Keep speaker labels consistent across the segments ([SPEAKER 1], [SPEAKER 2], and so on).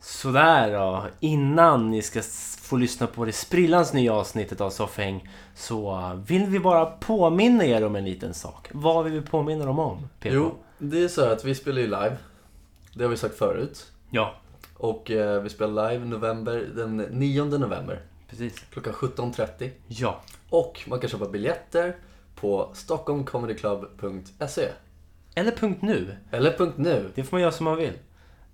[SPEAKER 1] Sådär då. Innan ni ska s- få lyssna på det sprillans nya avsnittet av Soffhäng så vill vi bara påminna er om en liten sak. Vad vill vi påminna dem om? Peter?
[SPEAKER 2] Jo, det är så här att vi spelar ju live. Det har vi sagt förut.
[SPEAKER 1] Ja,
[SPEAKER 2] Och eh, vi spelar live november, den 9 november
[SPEAKER 1] precis.
[SPEAKER 2] klockan 17.30.
[SPEAKER 1] Ja.
[SPEAKER 2] Och man kan köpa biljetter på stockholmcomedyclub.se
[SPEAKER 1] Eller punkt nu.
[SPEAKER 2] eller .nu.
[SPEAKER 1] Det får man göra som man vill.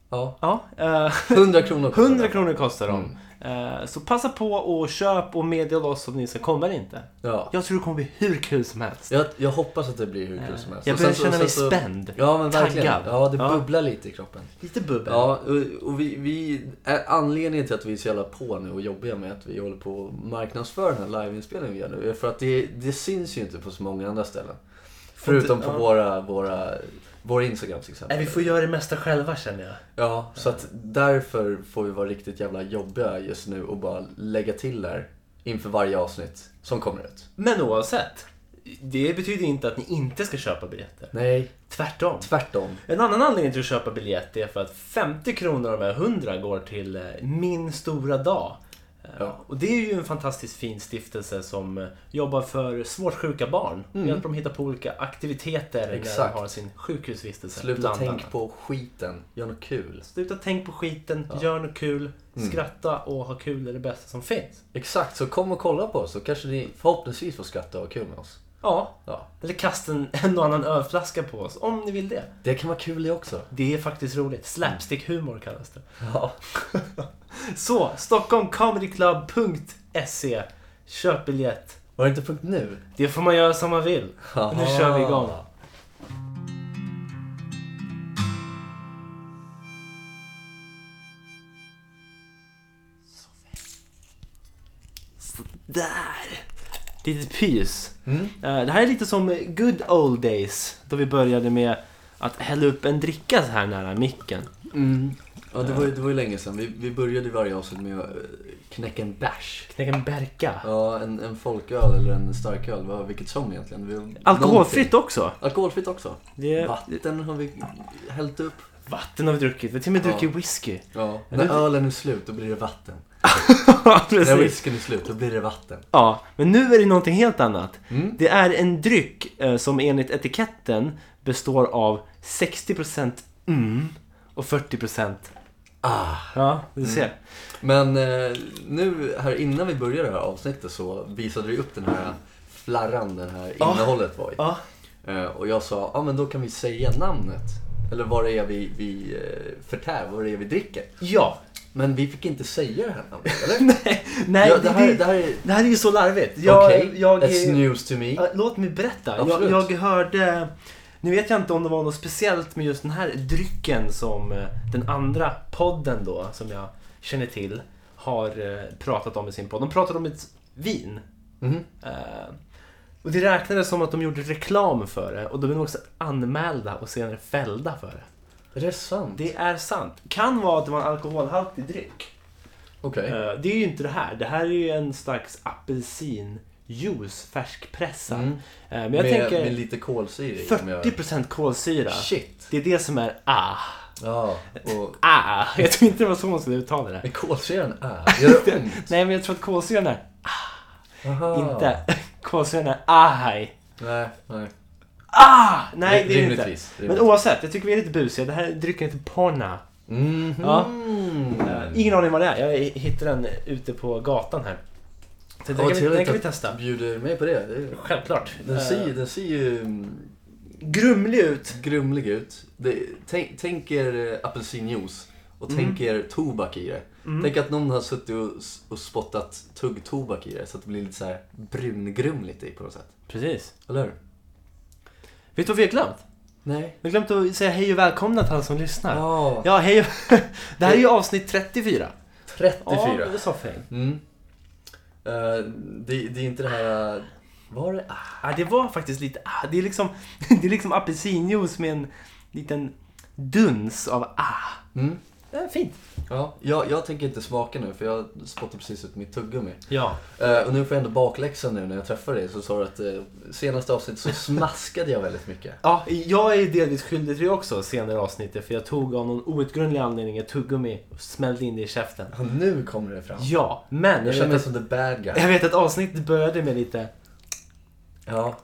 [SPEAKER 2] Ja,
[SPEAKER 1] Ja. eh,
[SPEAKER 2] 100 kronor kostar
[SPEAKER 1] 100
[SPEAKER 2] det.
[SPEAKER 1] kronor kostar de. Eh, Så passa på och köp och meddela oss om ni ska komma eller inte.
[SPEAKER 2] Ja.
[SPEAKER 1] Jag tror det kommer bli hur kul som helst.
[SPEAKER 2] Jag, jag hoppas att det blir hur kul som helst.
[SPEAKER 1] Jag
[SPEAKER 2] Och sen
[SPEAKER 1] börjar
[SPEAKER 2] så-
[SPEAKER 1] känna
[SPEAKER 2] sen
[SPEAKER 1] mig
[SPEAKER 2] så-
[SPEAKER 1] spänd.
[SPEAKER 2] Ja, men verkligen.
[SPEAKER 1] Taggad.
[SPEAKER 2] Ja, det
[SPEAKER 1] Ja.
[SPEAKER 2] bubblar lite i kroppen.
[SPEAKER 1] Lite bubbel.
[SPEAKER 2] Ja, och, och vi, vi, är anledningen till att vi är så jävla på nu och jobbiga med att vi håller på och marknadsför den här liveinspelningen vi gör nu är för att det, det syns ju inte på så många andra ställen. Förutom på
[SPEAKER 1] ja.
[SPEAKER 2] våra, våra, våra Instagram till exempel.
[SPEAKER 1] Nej, vi får göra det mesta själva känner jag.
[SPEAKER 2] Ja, så att därför får vi vara riktigt jävla jobbiga just nu och bara lägga till där inför varje avsnitt som kommer ut.
[SPEAKER 1] Men oavsett. Det betyder inte att ni inte ska köpa biljetter.
[SPEAKER 2] Nej,
[SPEAKER 1] Tvärtom.
[SPEAKER 2] tvärtom.
[SPEAKER 1] En annan anledning till att köpa biljett är för att 50 kronor av de här 100 går till eh, Min stora dag. Eh,
[SPEAKER 2] Ja.
[SPEAKER 1] Och det är ju en fantastiskt fin stiftelse som eh, jobbar för svårt sjuka barn. Hjälper dem hitta på olika aktiviteter när
[SPEAKER 2] Mm. Exakt.
[SPEAKER 1] de har sin sjukhusvistelse.
[SPEAKER 2] Sluta
[SPEAKER 1] bland
[SPEAKER 2] tänk
[SPEAKER 1] annat.
[SPEAKER 2] på skiten, gör något kul.
[SPEAKER 1] Sluta tänk på skiten, gör något kul,
[SPEAKER 2] Mm.
[SPEAKER 1] skratta och ha kul är det bästa som finns.
[SPEAKER 2] Exakt, så kom och kolla på oss så kanske ni förhoppningsvis får skratta och ha kul med oss.
[SPEAKER 1] Ja,
[SPEAKER 2] Ja.
[SPEAKER 1] eller kasta en, en och annan ölflaska på oss om ni vill det.
[SPEAKER 2] Det kan vara kul det också.
[SPEAKER 1] Det är faktiskt roligt. Slapstick-humor kallas det.
[SPEAKER 2] Ja.
[SPEAKER 1] Så, stockholmcomedyclub.se Köp E. biljett.
[SPEAKER 2] Var det inte punkt nu?
[SPEAKER 1] Det får man göra som man vill.
[SPEAKER 2] Aha.
[SPEAKER 1] Nu kör vi igång. Där! Litet pys. Eh, Det här är lite som good old days. Då vi började med att hälla upp en dricka så här nära micken. Mm.
[SPEAKER 2] Ja, det var, ju- det var ju länge sedan. Vi, vi började varje avsnitt med att eh, knäcka en bärs.
[SPEAKER 1] Knäcka en berka.
[SPEAKER 2] Ja, en, en folköl eller en starköl, vad- vilket som egentligen. Vi,
[SPEAKER 1] Alkoholfritt också.
[SPEAKER 2] någonting. Alkoholfritt också.
[SPEAKER 1] Det är
[SPEAKER 2] Vatten har vi hällt upp.
[SPEAKER 1] vatten har vi druckit. Vi har till och med
[SPEAKER 2] Ja.
[SPEAKER 1] druckit whisky.
[SPEAKER 2] Ja.
[SPEAKER 1] Ja,
[SPEAKER 2] När
[SPEAKER 1] det-
[SPEAKER 2] ölen är slut, då blir det vatten.
[SPEAKER 1] Ja,
[SPEAKER 2] När
[SPEAKER 1] precis.
[SPEAKER 2] whiskyn är slut, då blir det vatten.
[SPEAKER 1] Ja, men nu är det någonting helt annat.
[SPEAKER 2] Mm.
[SPEAKER 1] Det är en dryck eh, som enligt etiketten består av 60% mm och 40%
[SPEAKER 2] Ah.
[SPEAKER 1] Ja, du ser.
[SPEAKER 2] Men eh, nu, här innan vi började det här avsnittet så visade vi upp den här flarran, den här
[SPEAKER 1] Ja.
[SPEAKER 2] innehållet var i.
[SPEAKER 1] Ja.
[SPEAKER 2] Eh, Och jag sa, ja ah, men då kan vi säga namnet. Eller vad det är vi, vi eh, förtär, vad det är vi dricker.
[SPEAKER 1] ja.
[SPEAKER 2] Men vi fick inte säga det här namnet, eller?
[SPEAKER 1] Nej, nej
[SPEAKER 2] ja,
[SPEAKER 1] det,
[SPEAKER 2] det, här, det
[SPEAKER 1] det,
[SPEAKER 2] här är...
[SPEAKER 1] det här är ju så larvigt. Jag,
[SPEAKER 2] Okej,
[SPEAKER 1] jag,
[SPEAKER 2] that's news to me.
[SPEAKER 1] Ja, Låt mig berätta. Jag,
[SPEAKER 2] Absolut.
[SPEAKER 1] jag hörde... Nu vet jag inte om det var något speciellt med just den här drycken som eh, den andra podden då, som jag känner till, har eh, pratat om i sin podd. De pratade om ett vin.
[SPEAKER 2] Mhm.
[SPEAKER 1] Eh, Och det räknades som att de gjorde reklam för det och de blev också anmälda och senare fällda för det.
[SPEAKER 2] Är det sant?
[SPEAKER 1] Det är sant. Kan vara att det var en alkoholhaltig dryck.
[SPEAKER 2] Okej.
[SPEAKER 1] Eh, Det är ju inte det här. Det här är ju en slags apelsinjuice, färskpressad.
[SPEAKER 2] Mm.
[SPEAKER 1] Eh, Men jag
[SPEAKER 2] Med,
[SPEAKER 1] tänker...
[SPEAKER 2] med lite kolsyra i. om jag-
[SPEAKER 1] 40% kolsyra.
[SPEAKER 2] Shit.
[SPEAKER 1] Det är det som är ah.
[SPEAKER 2] Ja, och
[SPEAKER 1] Ah. Jag tror inte det var så man skulle uttala det.
[SPEAKER 2] men kolsyran är... Gör det ont?
[SPEAKER 1] Nej, men jag tror att kolsyran är Ah.
[SPEAKER 2] Aha.
[SPEAKER 1] inte. Kolsyran är ah, ahaj.
[SPEAKER 2] Nej, nej.
[SPEAKER 1] Ah! Nej, det är det inte.
[SPEAKER 2] Rimligtvis.
[SPEAKER 1] Men oavsett, jag tycker vi är lite busiga. Det här drycken heter Porna.
[SPEAKER 2] Mhm.
[SPEAKER 1] Ja.
[SPEAKER 2] Mm.
[SPEAKER 1] Eh, Ingen aning vad det är. Jag hittade den ute på gatan här. Så den, kan
[SPEAKER 2] Vad
[SPEAKER 1] vi, den
[SPEAKER 2] trevligt
[SPEAKER 1] kan vi
[SPEAKER 2] att
[SPEAKER 1] testa.
[SPEAKER 2] Bjuder mig på det. det är...
[SPEAKER 1] Självklart.
[SPEAKER 2] den,
[SPEAKER 1] Eh,
[SPEAKER 2] ser, ju- den ser ju mm,
[SPEAKER 1] grumlig ut.
[SPEAKER 2] grumlig ut. Det, tänk, tänk er eh, apelsinjuice och tänk er tobak i det. Tänk att någon har suttit och, s- och spottat tuggtobak i det så att det blir lite så här brungrumligt i på något sätt.
[SPEAKER 1] Precis.
[SPEAKER 2] Eller hur?
[SPEAKER 1] Vet du vad vi har glömt?
[SPEAKER 2] Nej.
[SPEAKER 1] Vi har glömt att säga hej och välkomna till alla som lyssnar.
[SPEAKER 2] Ja,
[SPEAKER 1] Ja, hej. Det här är ju avsnitt 34.
[SPEAKER 2] 34.
[SPEAKER 1] det sa Feng.
[SPEAKER 2] Mm. Eh, det, det är inte det här... eh, Var det? Ah,
[SPEAKER 1] Ja, det var faktiskt lite... Ah, det, är liksom, det är liksom apelsinjuice med en liten duns av ah.
[SPEAKER 2] Mm.
[SPEAKER 1] eh, fint.
[SPEAKER 2] Ja, jag, jag tänker inte smaka nu för jag spottade precis ut mitt tuggummi.
[SPEAKER 1] Ja.
[SPEAKER 2] Eh, och nu får jag ändå bakläxan nu när jag träffar dig. Så sa du att eh, senaste avsnittet så smaskade jag väldigt mycket.
[SPEAKER 1] Ja, jag är delvis skyldig till det också senare i avsnittet för jag tog av någon outgrundlig anledning ett tuggummi och smällde in det i käften.
[SPEAKER 2] Ja, nu kommer det fram.
[SPEAKER 1] Ja, men jag
[SPEAKER 2] Jag känner mig
[SPEAKER 1] vet,
[SPEAKER 2] som the bad guy.
[SPEAKER 1] jag vet att avsnittet började med lite...
[SPEAKER 2] Ja.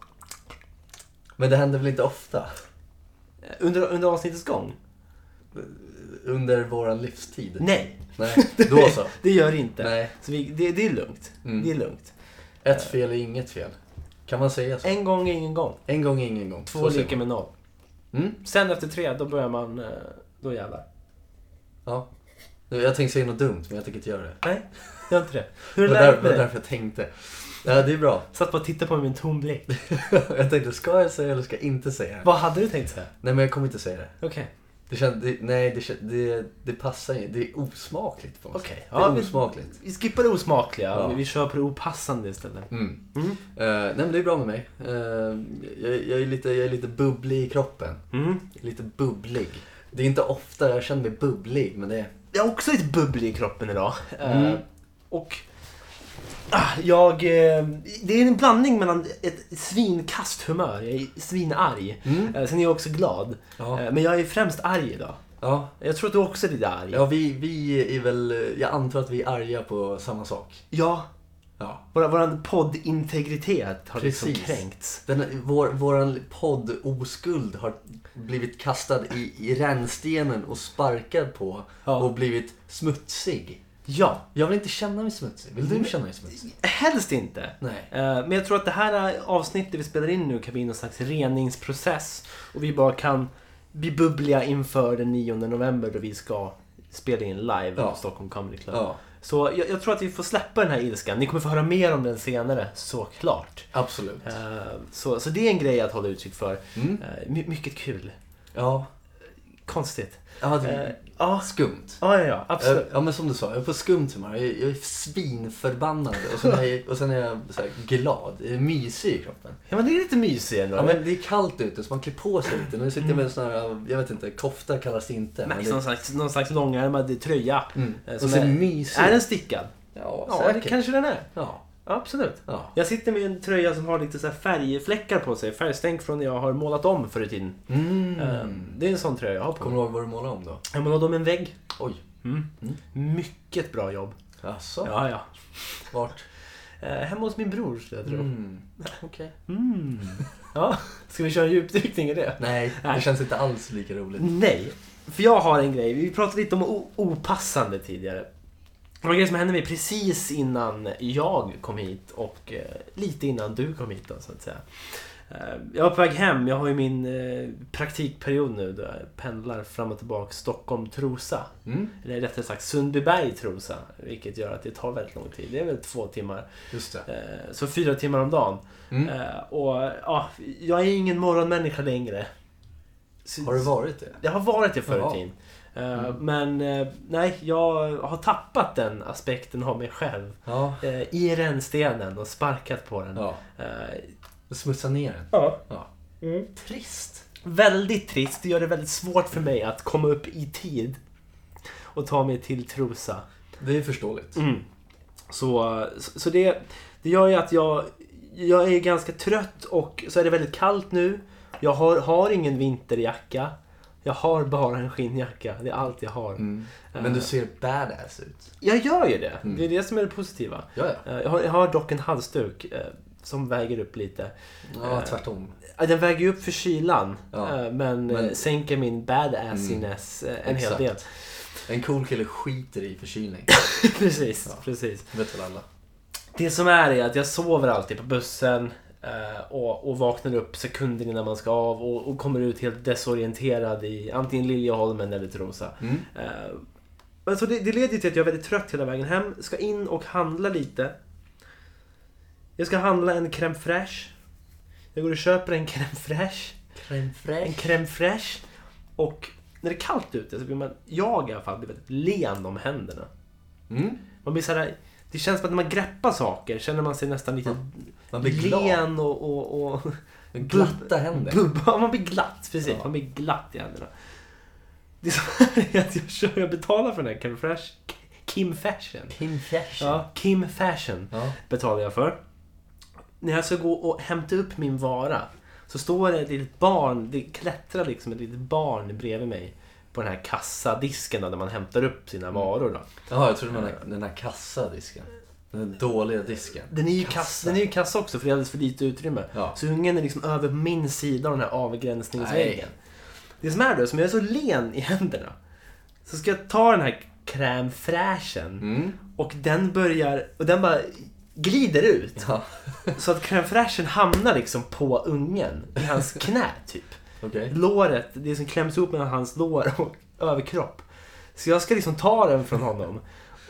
[SPEAKER 2] Men det händer väl inte ofta?
[SPEAKER 1] eh, Under, under avsnittets gång?
[SPEAKER 2] Under våran livstid?
[SPEAKER 1] Nej,
[SPEAKER 2] Nej. Då så.
[SPEAKER 1] det gör det inte.
[SPEAKER 2] Nej.
[SPEAKER 1] Så vi, det, det är lugnt.
[SPEAKER 2] Mm.
[SPEAKER 1] Det är lugnt.
[SPEAKER 2] Ett fel är inget fel. Kan man säga så?
[SPEAKER 1] En gång är ingen gång.
[SPEAKER 2] En gång är ingen gång.
[SPEAKER 1] Två
[SPEAKER 2] Så säger
[SPEAKER 1] lika med noll.
[SPEAKER 2] man. Mm?
[SPEAKER 1] Sen efter tre, då börjar man... eh, Då jävlar.
[SPEAKER 2] Ja. Nu, Jag tänkte säga något dumt, men jag tänker inte göra det.
[SPEAKER 1] Nej, gör inte det. Hur
[SPEAKER 2] Det
[SPEAKER 1] är
[SPEAKER 2] var,
[SPEAKER 1] det
[SPEAKER 2] där,
[SPEAKER 1] läget
[SPEAKER 2] det var
[SPEAKER 1] med dig?
[SPEAKER 2] därför jag tänkte. Ja, det är bra.
[SPEAKER 1] Satt bara och tittade på mig med en tom blick.
[SPEAKER 2] jag tänkte, ska jag säga eller ska jag inte säga det?
[SPEAKER 1] Vad hade du tänkt säga?
[SPEAKER 2] Nej, men jag kommer inte säga det.
[SPEAKER 1] Okej.
[SPEAKER 2] det, känd, det nej, det, känd, det, det passar inte. Det är osmakligt på något
[SPEAKER 1] Okej,
[SPEAKER 2] sätt.
[SPEAKER 1] ja,
[SPEAKER 2] det är
[SPEAKER 1] men-
[SPEAKER 2] osmakligt.
[SPEAKER 1] Vi skippar det osmakliga.
[SPEAKER 2] Ja.
[SPEAKER 1] Vi kör på det opassande istället.
[SPEAKER 2] Mm.
[SPEAKER 1] Mm.
[SPEAKER 2] Eh, nej men det är bra med mig. Eh, jag, jag, är lite, jag är lite bubblig i kroppen.
[SPEAKER 1] Mm.
[SPEAKER 2] Lite bubblig. Det är inte ofta jag känner mig bubblig men det är...
[SPEAKER 1] Jag har också ett bubbel i kroppen idag. Eh,
[SPEAKER 2] Mm.
[SPEAKER 1] och ah, jag... eh, det är en blandning mellan ett svinkast humör. Jag är svinarg.
[SPEAKER 2] Mm.
[SPEAKER 1] Eh, sen är jag också glad.
[SPEAKER 2] Ja.
[SPEAKER 1] Eh, men jag är främst arg idag.
[SPEAKER 2] Ja,
[SPEAKER 1] Jag tror att du också är lite arg.
[SPEAKER 2] ja vi, vi är väl... Jag antar att vi är arga på samma sak.
[SPEAKER 1] Ja,
[SPEAKER 2] Ja.
[SPEAKER 1] vår, vår poddintegritet har liksom
[SPEAKER 2] Precis.
[SPEAKER 1] kränkts.
[SPEAKER 2] Den, vår, våran poddoskuld har blivit kastad i, i rännstenen och sparkad på
[SPEAKER 1] Ja.
[SPEAKER 2] och blivit smutsig.
[SPEAKER 1] Ja,
[SPEAKER 2] Jag vill inte känna mig smutsig. Vill
[SPEAKER 1] Mm.
[SPEAKER 2] du känna dig smutsig?
[SPEAKER 1] helst inte.
[SPEAKER 2] Nej.
[SPEAKER 1] Eh, Men jag tror att det här avsnittet vi spelar in nu kan bli någon slags reningsprocess och vi bara kan bli bubbliga inför den 9 november då vi ska spela in live
[SPEAKER 2] Ja.
[SPEAKER 1] på Stockholm Comedy Club.
[SPEAKER 2] Ja,
[SPEAKER 1] Så jag, jag tror att vi får släppa den här ilskan. Ni kommer få höra mer om den senare, såklart.
[SPEAKER 2] absolut.
[SPEAKER 1] Eh, Så, så det är en grej att hålla utkik för.
[SPEAKER 2] Mm.
[SPEAKER 1] Eh, My, mycket kul.
[SPEAKER 2] Ja.
[SPEAKER 1] Konstigt.
[SPEAKER 2] Ja,
[SPEAKER 1] Eh,
[SPEAKER 2] det,
[SPEAKER 1] Ja,
[SPEAKER 2] skumt. Eh,
[SPEAKER 1] ja, ja, ja absolut.
[SPEAKER 2] Ja men som du sa, jag är på skumt humör. Jag är, jag är svinförbannad och sen är jag, och sen är jag så här glad. Jag är mysig i kroppen.
[SPEAKER 1] Ja, men det är lite mysigt ändå.
[SPEAKER 2] Ja, men det är kallt ute så man klär på sig lite. Nu sitter jag med en sån här, jag vet inte, kofta kallas det inte.
[SPEAKER 1] Nej,
[SPEAKER 2] men
[SPEAKER 1] någon,
[SPEAKER 2] det,
[SPEAKER 1] slags, någon slags långärmad tröja.
[SPEAKER 2] mm.
[SPEAKER 1] eh,
[SPEAKER 2] Och
[SPEAKER 1] liksom- Som
[SPEAKER 2] så är det
[SPEAKER 1] är,
[SPEAKER 2] mysig.
[SPEAKER 1] är den stickad?
[SPEAKER 2] Ja,
[SPEAKER 1] Ja, det
[SPEAKER 2] säkert.
[SPEAKER 1] kanske den är.
[SPEAKER 2] Ja,
[SPEAKER 1] Ja, absolut.
[SPEAKER 2] ja.
[SPEAKER 1] Jag sitter med en tröja som har lite så här färgfläckar på sig. Färgstänk från när jag har målat om förr i tiden.
[SPEAKER 2] Mm.
[SPEAKER 1] Ehm, Det är en sån tröja jag har på
[SPEAKER 2] Kommer
[SPEAKER 1] mig.
[SPEAKER 2] du ihåg vad du målade om då?
[SPEAKER 1] Jag målade om en vägg.
[SPEAKER 2] Oj.
[SPEAKER 1] Mycket bra jobb.
[SPEAKER 2] Jaså?
[SPEAKER 1] Ja, ja.
[SPEAKER 2] Vart?
[SPEAKER 1] Eh, Hemma hos min bror, skulle jag tro.
[SPEAKER 2] Mm. Okej.
[SPEAKER 1] Mm. Ja. Ska vi köra en djupdykning i det?
[SPEAKER 2] Nej,
[SPEAKER 1] Nej. Mm.
[SPEAKER 2] det känns inte alls lika roligt.
[SPEAKER 1] Nej. För jag har en grej. Vi pratade lite om o- opassande tidigare. Det var en grej som hände mig precis innan jag kom hit och eh, lite innan du kom hit då, så att säga. Eh, jag var på väg hem. Jag har ju min eh, praktikperiod nu då jag pendlar fram och tillbaka Stockholm-Trosa.
[SPEAKER 2] Mm.
[SPEAKER 1] Eller rättare sagt Sundbyberg-Trosa. Vilket gör att det tar väldigt lång tid. Det är väl två timmar.
[SPEAKER 2] Just det.
[SPEAKER 1] Eh, så fyra timmar om dagen.
[SPEAKER 2] Mm.
[SPEAKER 1] Eh, och ja, jag är ingen morgonmänniska längre. Så-
[SPEAKER 2] Har du varit det?
[SPEAKER 1] det har varit det förr
[SPEAKER 2] Jaha. Mm.
[SPEAKER 1] i tiden. Eh, Men eh, nej, jag har tappat den aspekten av mig själv.
[SPEAKER 2] Ja.
[SPEAKER 1] eh, I rännstenen och sparkat på den.
[SPEAKER 2] Ja.
[SPEAKER 1] Eh,
[SPEAKER 2] Smutsa ner den.
[SPEAKER 1] ja.
[SPEAKER 2] Ja.
[SPEAKER 1] Mm.
[SPEAKER 2] Trist.
[SPEAKER 1] Väldigt trist. Det gör det väldigt svårt för mig att komma upp i tid. Och ta mig till Trosa.
[SPEAKER 2] Det är förståeligt.
[SPEAKER 1] Mm. Så, så så det, det gör ju att jag, jag är ganska trött och så är det väldigt kallt nu. Jag har, har ingen vinterjacka. Jag har bara en skinnjacka. Det är allt jag har.
[SPEAKER 2] Men du ser badass ut.
[SPEAKER 1] Jag gör ju det.
[SPEAKER 2] Mm.
[SPEAKER 1] Det är det som är det positiva.
[SPEAKER 2] Ja, ja.
[SPEAKER 1] Eh, Jag har, jag har dock en halsduk eh, som väger upp lite.
[SPEAKER 2] Ja, tvärtom.
[SPEAKER 1] Eh, Den väger ju upp för kylan
[SPEAKER 2] Ja.
[SPEAKER 1] eh, men, eh,
[SPEAKER 2] Men- Mm.
[SPEAKER 1] sänker min badassiness eh, en
[SPEAKER 2] Exakt.
[SPEAKER 1] hel del.
[SPEAKER 2] En cool kille skiter i förkylning.
[SPEAKER 1] precis,
[SPEAKER 2] Ja.
[SPEAKER 1] precis.
[SPEAKER 2] Det vet väl alla.
[SPEAKER 1] Det som är är att jag sover alltid på bussen eh, och, och vaknar upp sekunder innan man ska av och, och kommer ut helt desorienterad i antingen Liljeholmen eller Trosa.
[SPEAKER 2] Mm.
[SPEAKER 1] Eh, men så det, det leder till att jag är väldigt trött hela vägen hem. Ska in och handla lite. Jag ska handla en crème fraîche. Jag går och köper en crème fraîche.
[SPEAKER 2] Crème
[SPEAKER 1] En
[SPEAKER 2] fraîche.
[SPEAKER 1] crème fraîche. Och när det är kallt ute så blir man, jag i alla fall, blir väldigt len om händerna.
[SPEAKER 2] Mm.
[SPEAKER 1] Man blir så här, det känns som att när man greppar saker känner man sig nästan lite
[SPEAKER 2] Man blir glad.
[SPEAKER 1] len och, och, och
[SPEAKER 2] Glatta händer.
[SPEAKER 1] bubba. Man blir glatt, precis.
[SPEAKER 2] Ja.
[SPEAKER 1] Man blir glatt i händerna. Det är så här att jag, kör, jag betalar för den här Kim Fresh, Kim Fashion.
[SPEAKER 2] Kim Fashion.
[SPEAKER 1] Ja, Kim Fashion
[SPEAKER 2] Ja.
[SPEAKER 1] betalar jag för. När jag ska gå och hämta upp min vara så står det ett litet barn, det klättrar liksom ett litet barn bredvid mig på den här kassadisken då, där man hämtar upp
[SPEAKER 2] Mm.
[SPEAKER 1] sina varor. Då.
[SPEAKER 2] Jaha, jag trodde man hade den här kassadisken. Den där dåliga disken.
[SPEAKER 1] Den är ju kass, den är ju kass också för det är alldeles för lite utrymme.
[SPEAKER 2] Ja.
[SPEAKER 1] Så ungen är liksom över på min sida av den här
[SPEAKER 2] Nej.
[SPEAKER 1] avgränsningsväggen. Det som är då, som jag är så len i händerna. Så ska jag ta den här crème fraîchen
[SPEAKER 2] Mm.
[SPEAKER 1] och den börjar, och den bara glider ut.
[SPEAKER 2] Ja,
[SPEAKER 1] Så att crème fraîchen hamnar liksom på ungen, i hans knä typ.
[SPEAKER 2] okej.
[SPEAKER 1] Låret, det som kläms ihop mellan hans lår och överkropp. Så jag ska liksom ta den från honom.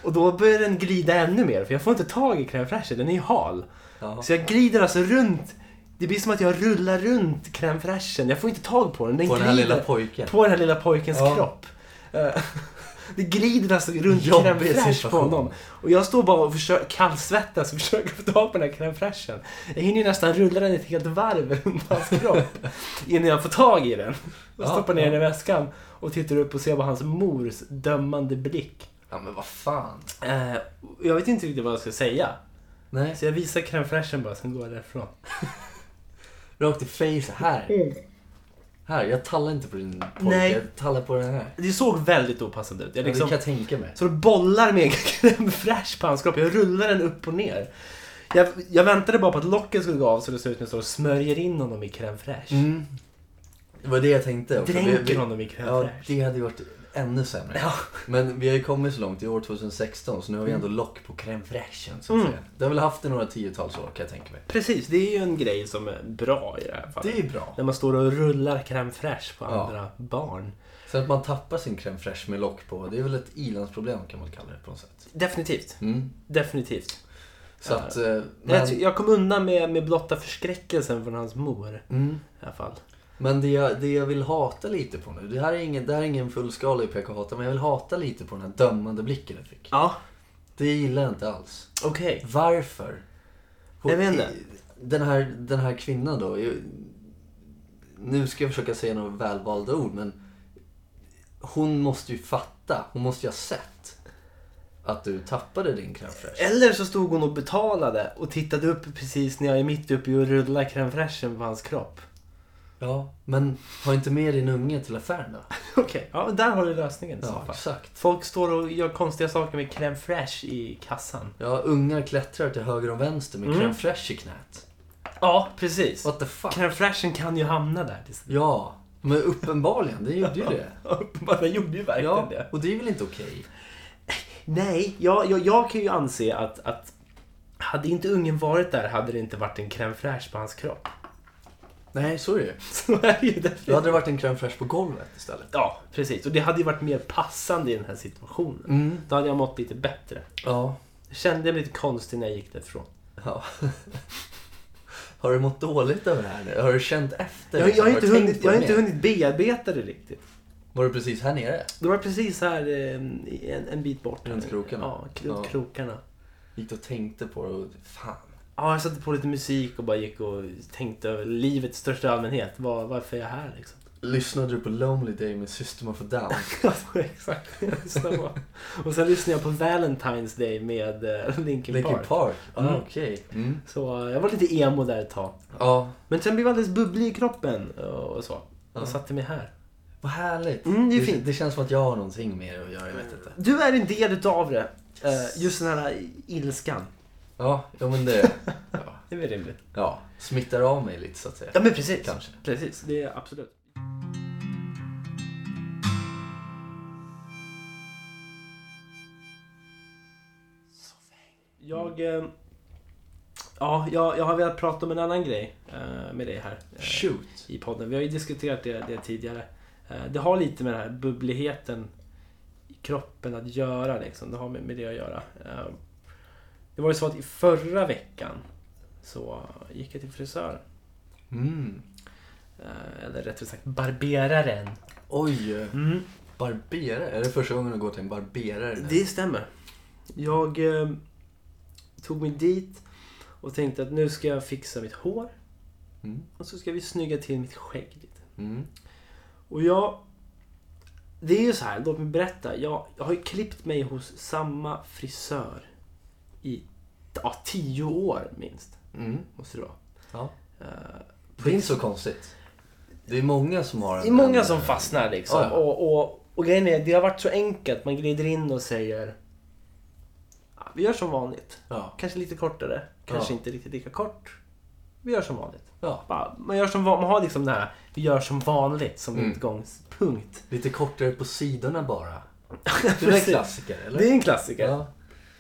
[SPEAKER 1] Och då börjar den glida ännu mer, för jag får inte tag i crème fraîchen, den är ju hal.
[SPEAKER 2] Ja.
[SPEAKER 1] Så jag glider alltså runt. Det blir som att jag rullar runt crème fraîchen. Jag får inte tag på den. Den
[SPEAKER 2] På den
[SPEAKER 1] glider
[SPEAKER 2] här lilla pojken.
[SPEAKER 1] på den här lilla pojkens
[SPEAKER 2] Ja.
[SPEAKER 1] kropp. Eh, Det glider alltså runt
[SPEAKER 2] Jobbig
[SPEAKER 1] crème fraîche på
[SPEAKER 2] situation.
[SPEAKER 1] honom. Och jag står bara och försöker, kallsvettas och försöker få tag på den här crème fraîchen. Jag hinner ju nästan rulla den ett helt varv runt hans kropp innan jag får tag i den. Och
[SPEAKER 2] Ja,
[SPEAKER 1] stoppar ner
[SPEAKER 2] ja.
[SPEAKER 1] den i väskan och tittar upp och ser på hans mors dömande blick.
[SPEAKER 2] Ja, men vad fan.
[SPEAKER 1] Eh, och Jag vet inte riktigt vad jag ska säga.
[SPEAKER 2] Nej.
[SPEAKER 1] Så jag visar crème fraîchen bara, sen går jag därifrån.
[SPEAKER 2] Rakt i face här. Här, jag tallar inte på din pojke.
[SPEAKER 1] Nej.
[SPEAKER 2] Jag tallar på den här.
[SPEAKER 1] Det såg väldigt opassande ut. Jag
[SPEAKER 2] Ja,
[SPEAKER 1] liksom,
[SPEAKER 2] Det kan jag tänka mig.
[SPEAKER 1] Så det bollar med crème fraîche på hans kropp. Jag rullar den upp och ner. Jag, jag väntade bara på att locket skulle gå av så det ser ut som jag står och smörjer in honom i crème fraîche.
[SPEAKER 2] Mm. Det var det jag tänkte. också.
[SPEAKER 1] Dränker
[SPEAKER 2] Vi- vi-
[SPEAKER 1] honom i crème
[SPEAKER 2] Ja,
[SPEAKER 1] fraîche.
[SPEAKER 2] det hade ju varit ännu sämre.
[SPEAKER 1] Ja.
[SPEAKER 2] Men vi har ju kommit så långt, i år 2016, så nu har vi ändå lock på crème fraîchen så att
[SPEAKER 1] Mm.
[SPEAKER 2] säga. Det har väl haft det några tiotals år kan jag tänka mig.
[SPEAKER 1] Precis, det är ju en grej som är bra i det här fallet.
[SPEAKER 2] Det är ju bra.
[SPEAKER 1] När man står och rullar crème fraîche på
[SPEAKER 2] Ja.
[SPEAKER 1] andra barn.
[SPEAKER 2] Sen att man tappar sin crème fraîche med lock på, det är väl ett ilandsproblem kan man kalla det på något sätt.
[SPEAKER 1] Definitivt.
[SPEAKER 2] Mm.
[SPEAKER 1] Definitivt.
[SPEAKER 2] Så
[SPEAKER 1] Ja.
[SPEAKER 2] att... eh,
[SPEAKER 1] Men...
[SPEAKER 2] Men,
[SPEAKER 1] Jag, ty- jag kom undan med, med blotta förskräckelsen från hans mor.
[SPEAKER 2] mm.
[SPEAKER 1] I alla fall.
[SPEAKER 2] men det, jag, det jag vill hata lite på nu, det här är ingen, det här är ingen fullskalig PK-hata, men jag vill hata lite på den här dömande blicken jag fick.
[SPEAKER 1] Ja,
[SPEAKER 2] Det gillar jag inte alls.
[SPEAKER 1] okej.
[SPEAKER 2] Varför?
[SPEAKER 1] Jag vet inte.
[SPEAKER 2] Den här, den här kvinnan då. ju- Nu ska jag försöka säga några välvalda ord men hon måste ju fatta. Hon måste ju ha sett att du tappade din crème fraîche.
[SPEAKER 1] Eller så stod hon och betalade och tittade upp precis när jag är mitt uppe i att rulla crème fraîchen på hans kropp.
[SPEAKER 2] Ja, men ha inte med din unge till affären då.
[SPEAKER 1] Okej, ja, men där har du lösningen. i så
[SPEAKER 2] Ja,
[SPEAKER 1] fall.
[SPEAKER 2] exakt.
[SPEAKER 1] Folk står och gör konstiga saker med crème fraîche i kassan.
[SPEAKER 2] Ja, ungar klättrar till höger och vänster med
[SPEAKER 1] Mm.
[SPEAKER 2] crème fraîche i knät.
[SPEAKER 1] Ja, precis.
[SPEAKER 2] What the fuck?
[SPEAKER 1] Crème fraîchen kan ju hamna där.
[SPEAKER 2] Ja, men uppenbarligen, det gjorde ju det.
[SPEAKER 1] Uppenbarligen gjorde ju verkligen
[SPEAKER 2] Ja,
[SPEAKER 1] det.
[SPEAKER 2] och det är väl inte okej?
[SPEAKER 1] Nej, jag, jag, jag kan ju anse att, att hade inte ungen varit där hade det inte varit en crème fraîche på hans kropp.
[SPEAKER 2] Nej, så är det ju.
[SPEAKER 1] Så är det ju
[SPEAKER 2] Då
[SPEAKER 1] definitivt.
[SPEAKER 2] hade det varit en crème fraîche på golvet istället.
[SPEAKER 1] Ja, precis. Och det hade ju varit mer passande i den här situationen.
[SPEAKER 2] Mm.
[SPEAKER 1] Då hade jag mått lite bättre.
[SPEAKER 2] Ja.
[SPEAKER 1] Kände jag mig lite konstig när jag gick därifrån.
[SPEAKER 2] ja. Har du mått dåligt över det här nu? Har du känt efter?
[SPEAKER 1] Jag, jag, har,
[SPEAKER 2] liksom?
[SPEAKER 1] inte
[SPEAKER 2] du
[SPEAKER 1] hunnit,
[SPEAKER 2] tänkt på
[SPEAKER 1] jag har
[SPEAKER 2] det
[SPEAKER 1] inte
[SPEAKER 2] mer?
[SPEAKER 1] hunnit bearbeta det riktigt.
[SPEAKER 2] Var du precis här nere?
[SPEAKER 1] Det var precis här eh, en, en bit bort.
[SPEAKER 2] Runt krokarna?
[SPEAKER 1] Ja, k- runt
[SPEAKER 2] Ja.
[SPEAKER 1] krokarna.
[SPEAKER 2] Gick du och tänkte på det och fan.
[SPEAKER 1] Ja, jag satte på lite musik och bara gick och tänkte över livet i största allmänhet. Var, varför är jag här liksom?
[SPEAKER 2] Lyssnade du på Lonely Day med System of a Down?
[SPEAKER 1] Ja, det var Exakt det jag lyssnade på. Och sen lyssnade jag på Valentine's Day med eh, Linkin,
[SPEAKER 2] Linkin
[SPEAKER 1] Park.
[SPEAKER 2] Park? Ja,
[SPEAKER 1] Mm.
[SPEAKER 2] okej.
[SPEAKER 1] Så eh, jag var lite emo där ett tag.
[SPEAKER 2] Ja,
[SPEAKER 1] Men sen blev jag alldeles bubblig i kroppen eh, och så.
[SPEAKER 2] Ja.
[SPEAKER 1] Och satte mig här.
[SPEAKER 2] vad härligt.
[SPEAKER 1] Mm, det är fint.
[SPEAKER 2] det känns som att jag har någonting mer att göra, jag vet inte.
[SPEAKER 1] Du är en del utav det. Eh, Just den här ilskan.
[SPEAKER 2] Ja, ja men det... Ja.
[SPEAKER 1] Det är väl rimligt.
[SPEAKER 2] ja, smittar av mig lite så att säga.
[SPEAKER 1] Ja men precis.
[SPEAKER 2] Kanske.
[SPEAKER 1] Precis, det är absolut. Jag, eh, ja, jag, jag har velat prata om en annan grej eh, med dig här eh,
[SPEAKER 2] Shoot.
[SPEAKER 1] i podden. Vi har ju diskuterat det, det tidigare. Eh, Det har lite med den här bubbligheten i kroppen att göra. Liksom. Det har med, med det att göra. Eh, Det var ju så att i förra veckan så gick jag till frisören.
[SPEAKER 2] Mm.
[SPEAKER 1] Eh, Eller rättare sagt barberaren.
[SPEAKER 2] Oj, eh,
[SPEAKER 1] Mm,
[SPEAKER 2] barberare. Är det första gången du går till en barberare? nu?
[SPEAKER 1] Det stämmer. Jag eh, tog mig dit och tänkte att nu ska jag fixa mitt hår
[SPEAKER 2] Mm.
[SPEAKER 1] och så ska vi snygga till mitt skägg lite.
[SPEAKER 2] Mm.
[SPEAKER 1] Och jag Det är ju så här, låt mig berätta. Jag, jag har ju klippt mig hos samma frisör i ja, tio år minst.
[SPEAKER 2] Mm.
[SPEAKER 1] Måste det vara.
[SPEAKER 2] Ja.
[SPEAKER 1] Eh,
[SPEAKER 2] Det är inte så konstigt. Det är många som har
[SPEAKER 1] Det är många som fastnar liksom.
[SPEAKER 2] Ja, ja.
[SPEAKER 1] Och, och, och grejen är, det har varit så enkelt. Man glider in och säger "Ja, Vi gör som vanligt.
[SPEAKER 2] Ja.
[SPEAKER 1] Kanske lite kortare, kanske
[SPEAKER 2] Ja.
[SPEAKER 1] inte riktigt lika kort. Vi gör som vanligt.
[SPEAKER 2] ja.
[SPEAKER 1] Bara, Man, gör som, va- man har liksom det här, vi gör som vanligt som
[SPEAKER 2] Mm.
[SPEAKER 1] utgångspunkt.
[SPEAKER 2] Lite kortare på sidorna bara. Det är en
[SPEAKER 1] Precis.
[SPEAKER 2] klassiker, eller?
[SPEAKER 1] Det är en klassiker. Ja.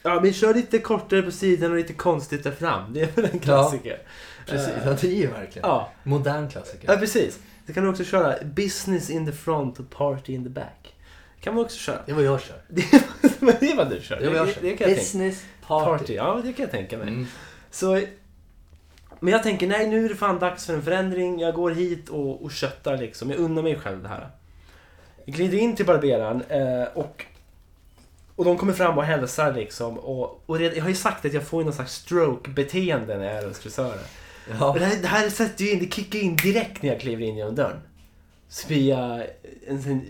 [SPEAKER 2] Ja.
[SPEAKER 1] men kör lite kortare på sidan och lite konstigt där fram. Det är väl en klassiker.
[SPEAKER 2] Precis, ja, det är ju verkligen.
[SPEAKER 1] Eh. Ja,
[SPEAKER 2] Modern
[SPEAKER 1] ja
[SPEAKER 2] klassiker.
[SPEAKER 1] precis. Det kan du också köra business in the front och party in the back. kan man också köra.
[SPEAKER 2] Det är vad jag kör.
[SPEAKER 1] Det är, men det är vad du kör.
[SPEAKER 2] Det är vad jag kör.
[SPEAKER 1] det kan jag tänka
[SPEAKER 2] Business
[SPEAKER 1] party.
[SPEAKER 2] party.
[SPEAKER 1] Ja, det kan jag tänka mig.
[SPEAKER 2] Mm.
[SPEAKER 1] Så, men jag tänker, nej nu är det fan dags för en förändring. Jag går hit och, och köttar liksom. Jag unnar mig själv det här. Jag glider in till barberaren eh, och, och de kommer fram och hälsar liksom. Och, och red, jag har ju sagt att jag får ju någon slags stroke-beteende när jag är hos frisören.
[SPEAKER 2] Ja.
[SPEAKER 1] Och det, här, det här sätter ju in, det kickar in direkt när jag kliver in genom dörren. Så blir jag en, sån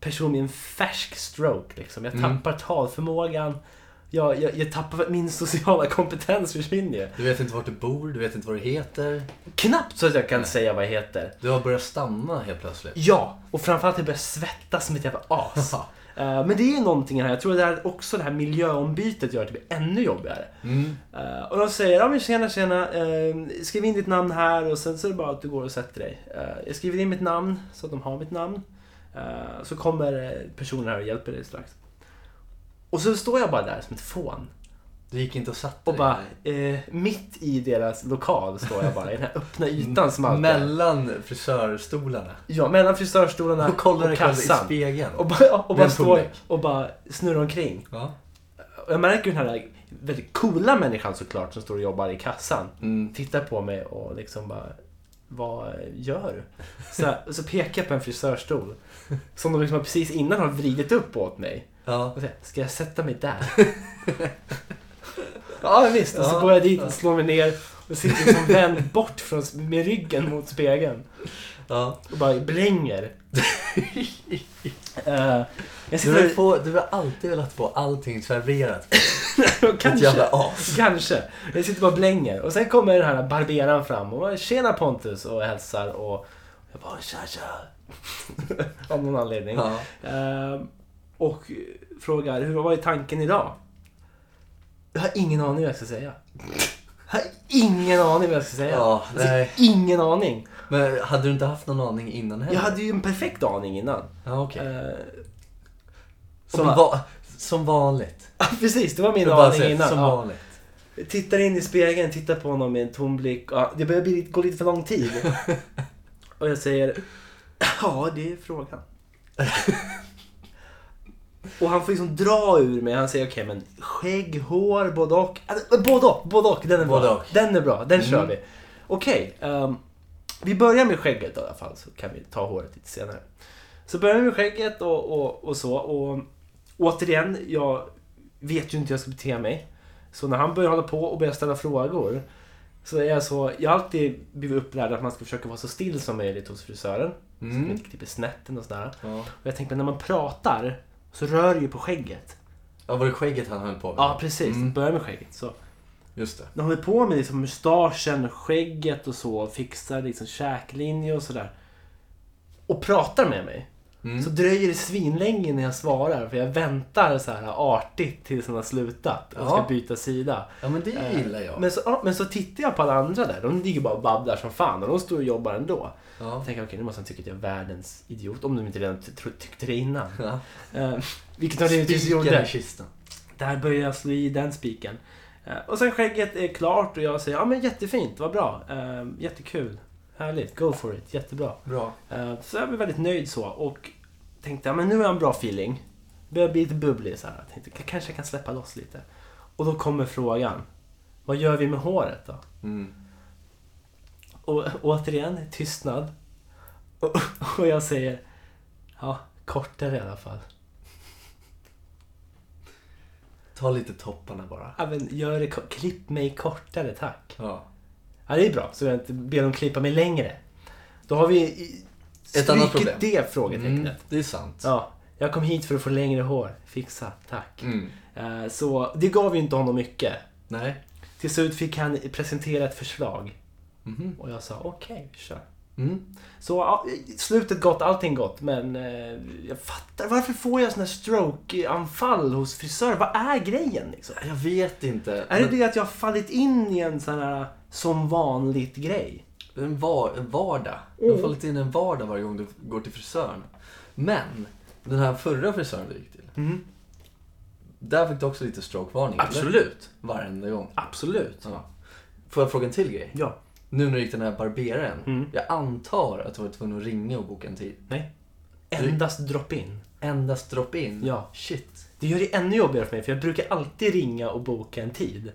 [SPEAKER 1] person med en färsk stroke liksom. Jag
[SPEAKER 2] Mm.
[SPEAKER 1] tappar talförmågan. Jag, jag, jag tappar, min sociala kompetens försvinner ju.
[SPEAKER 2] Du vet inte vart du bor, du vet inte vad du heter.
[SPEAKER 1] Knappt så att jag kan säga vad jag heter.
[SPEAKER 2] Du har börjat stamma helt plötsligt.
[SPEAKER 1] Ja, och framförallt jag börjar svettas som ett jävla as. Eh, Men det är ju någonting här, jag tror det här, också det här miljöombytet gör att det blir ännu jobbigare.
[SPEAKER 2] Mm.
[SPEAKER 1] Eh, och de säger, ja men tjena tjena, eh, skriv in ditt namn här och sen så är det bara att du går och sätter dig. Eh, jag skriver in mitt namn så att de har mitt namn. Eh, så kommer eh, personen här och hjälper dig strax. Och så står jag bara där som ett fån.
[SPEAKER 2] Du gick inte och satte
[SPEAKER 1] Och
[SPEAKER 2] dig.
[SPEAKER 1] bara, eh, mitt i deras lokal står jag bara i den här öppna ytan som alltid är.
[SPEAKER 2] Mellan frisörstolarna.
[SPEAKER 1] Ja, mellan frisörstolarna
[SPEAKER 2] Och kollade
[SPEAKER 1] och
[SPEAKER 2] dig själv i
[SPEAKER 1] kassan.
[SPEAKER 2] spegeln.
[SPEAKER 1] Och bara, och
[SPEAKER 2] Med
[SPEAKER 1] bara
[SPEAKER 2] en
[SPEAKER 1] står
[SPEAKER 2] pungväck.
[SPEAKER 1] och bara snurrar omkring.
[SPEAKER 2] Ja.
[SPEAKER 1] Och jag märker ju den här väldigt coola människan såklart som står och jobbar i kassan.
[SPEAKER 2] Mm.
[SPEAKER 1] Tittar på mig och liksom bara Vad gör du? Så, här, och så pekar jag på en frisörstol. Som de liksom har precis innan har vridit upp åt mig.
[SPEAKER 2] Ja.
[SPEAKER 1] Och säger, Ska jag sätta mig där? ja visst. Och så
[SPEAKER 2] Ja,
[SPEAKER 1] går jag dit
[SPEAKER 2] ja.
[SPEAKER 1] och slår mig ner. Och sitter liksom vänd bort från, med ryggen mot spegeln.
[SPEAKER 2] ja.
[SPEAKER 1] Och bara blänger. Eh, jag
[SPEAKER 2] Du, vill
[SPEAKER 1] sitter...
[SPEAKER 2] få, du har alltid velat få allting serverat. Ditt
[SPEAKER 1] kanske.
[SPEAKER 2] jävla as.
[SPEAKER 1] Kanske. Jag sitter bara och blänger. Och sen kommer den här barberaren fram och bara, tjena Pontus och hälsar och jag bara tja tja. Av någon anledning.
[SPEAKER 2] Ja.
[SPEAKER 1] Ehm, och frågar hur var tanken idag? Jag har ingen aning vad jag ska säga. Jag har ingen aning vad jag ska säga.
[SPEAKER 2] Ja,
[SPEAKER 1] Alltså,
[SPEAKER 2] nej.
[SPEAKER 1] ingen aning.
[SPEAKER 2] Men hade du inte haft någon aning innan heller?
[SPEAKER 1] Jag hade ju en perfekt aning innan.
[SPEAKER 2] Ja, okej.
[SPEAKER 1] Ehm, och
[SPEAKER 2] Som,
[SPEAKER 1] bara-
[SPEAKER 2] Eh, va- som vanligt.
[SPEAKER 1] Precis, det var min
[SPEAKER 2] Du bara
[SPEAKER 1] aning
[SPEAKER 2] säger,
[SPEAKER 1] innan.
[SPEAKER 2] Som
[SPEAKER 1] Ja.
[SPEAKER 2] vanligt.
[SPEAKER 1] Tittar in i spegeln, tittar på honom med en tom blick. Ja, det börjar bli, gå lite för lång tid. Och jag säger, ja det är frågan. Och han får liksom dra ur mig. Han säger okej men skägg, hår, både och. Alltså, Både och, både och. Den är bra.
[SPEAKER 2] Både och.
[SPEAKER 1] Den är bra, den kör
[SPEAKER 2] Mm.
[SPEAKER 1] vi. Okej, ehm, vi börjar med skägget i alla fall så kan vi ta håret lite senare. Så börjar vi med skägget och, och, och så. Och återigen, jag vet ju inte hur jag ska bete mig. Så när han börjar hålla på och börjar ställa frågor så är jag så, jag har alltid blivit upplärd att man ska försöka vara så still som möjligt hos frisören. Så att man
[SPEAKER 2] Mm.
[SPEAKER 1] inte klipper snätten och sådär.
[SPEAKER 2] Ja.
[SPEAKER 1] Och jag tänkte, när man pratar så rör det ju på skägget.
[SPEAKER 2] ja, var det skägget han höll på med?
[SPEAKER 1] Ja, precis.
[SPEAKER 2] Mm.
[SPEAKER 1] Börja med skägget. Så.
[SPEAKER 2] Just det.
[SPEAKER 1] De håller på med liksom mustaschen, skägget och så. Fixar liksom käklinje och sådär. Och pratar med mig.
[SPEAKER 2] Mm.
[SPEAKER 1] Så dröjer det svinlänge innan jag svarar. För jag väntar så här artigt tills han har slutat och ska
[SPEAKER 2] Ja.
[SPEAKER 1] byta sida.
[SPEAKER 2] Ja, men det
[SPEAKER 1] Eh,
[SPEAKER 2] gillar jag.
[SPEAKER 1] Men så, ja, men så tittar jag på alla andra där. De ligger bara och babblar som fan och de står och jobbar ändå.
[SPEAKER 2] Ja.
[SPEAKER 1] Jag tänker okej, nu måste han tycka att jag är världens idiot. Om de inte redan ty- tro- tyckte det innan.
[SPEAKER 2] Ja.
[SPEAKER 1] Eh, vilket de givetvis
[SPEAKER 2] Spiken
[SPEAKER 1] gjorde.
[SPEAKER 2] i kistan.
[SPEAKER 1] Där börjar jag slå i den spiken. Eh, och sen skägget är klart och jag säger ja men jättefint, vad bra. Eh, jättekul. Härligt, go for it, jättebra.
[SPEAKER 2] Bra.
[SPEAKER 1] Eh, så jag blev väldigt nöjd så och tänkte ja men nu har jag en bra feeling. Börjar bli lite bubblig så här. Jag tänkte "K- kanske jag kan släppa loss lite. Och då kommer frågan. Vad gör vi med håret då?
[SPEAKER 2] Mm.
[SPEAKER 1] Och återigen tystnad. Och, och jag säger ja, kortare i alla fall.
[SPEAKER 2] Ta lite topparna bara. Mm.
[SPEAKER 1] Ja, men gör det, ko- klipp mig kortare tack.
[SPEAKER 2] Ja.
[SPEAKER 1] Ja, det är bra. Så jag inte ber dem klippa mig längre. Då har vi i-
[SPEAKER 2] Ett annat
[SPEAKER 1] strukit
[SPEAKER 2] problem. Mm.
[SPEAKER 1] det frågetecknet.
[SPEAKER 2] det är sant.
[SPEAKER 1] Ja. Jag kom hit för att få längre hår. Fixa, tack.
[SPEAKER 2] Mm.
[SPEAKER 1] Eh, Så det gav ju inte honom mycket.
[SPEAKER 2] Nej.
[SPEAKER 1] Till slut fick han presentera ett förslag
[SPEAKER 2] Mhm.
[SPEAKER 1] och jag sa okej, kör.
[SPEAKER 2] Mm.
[SPEAKER 1] Så ja, slutet gott, allting gott. Men eh, jag fattar, varför får jag såna här stroke-anfall hos frisörer? Vad är grejen liksom?
[SPEAKER 2] Jag vet inte.
[SPEAKER 1] Är det
[SPEAKER 2] men
[SPEAKER 1] det att jag har fallit in i en sån här som vanligt grej?
[SPEAKER 2] En, var, en vardag. Du har fallit in i en vardag varje gång du går till frisören. Men, den här förra frisören du gick till.
[SPEAKER 1] Mm.
[SPEAKER 2] Där fick du också lite strokevarning. eller?
[SPEAKER 1] Absolut.
[SPEAKER 2] Varenda gång.
[SPEAKER 1] Absolut.
[SPEAKER 2] Ja. Får jag fråga en till grej?
[SPEAKER 1] Ja.
[SPEAKER 2] Nu när du gick till den här barberaren.
[SPEAKER 1] Mm.
[SPEAKER 2] Jag antar att du var tvungen att ringa och boka en tid.
[SPEAKER 1] Nej. Endast drop-in.
[SPEAKER 2] Endast drop in?
[SPEAKER 1] Ja.
[SPEAKER 2] Shit.
[SPEAKER 1] Det gör det ännu jobbigare för mig för jag brukar alltid ringa och boka en tid.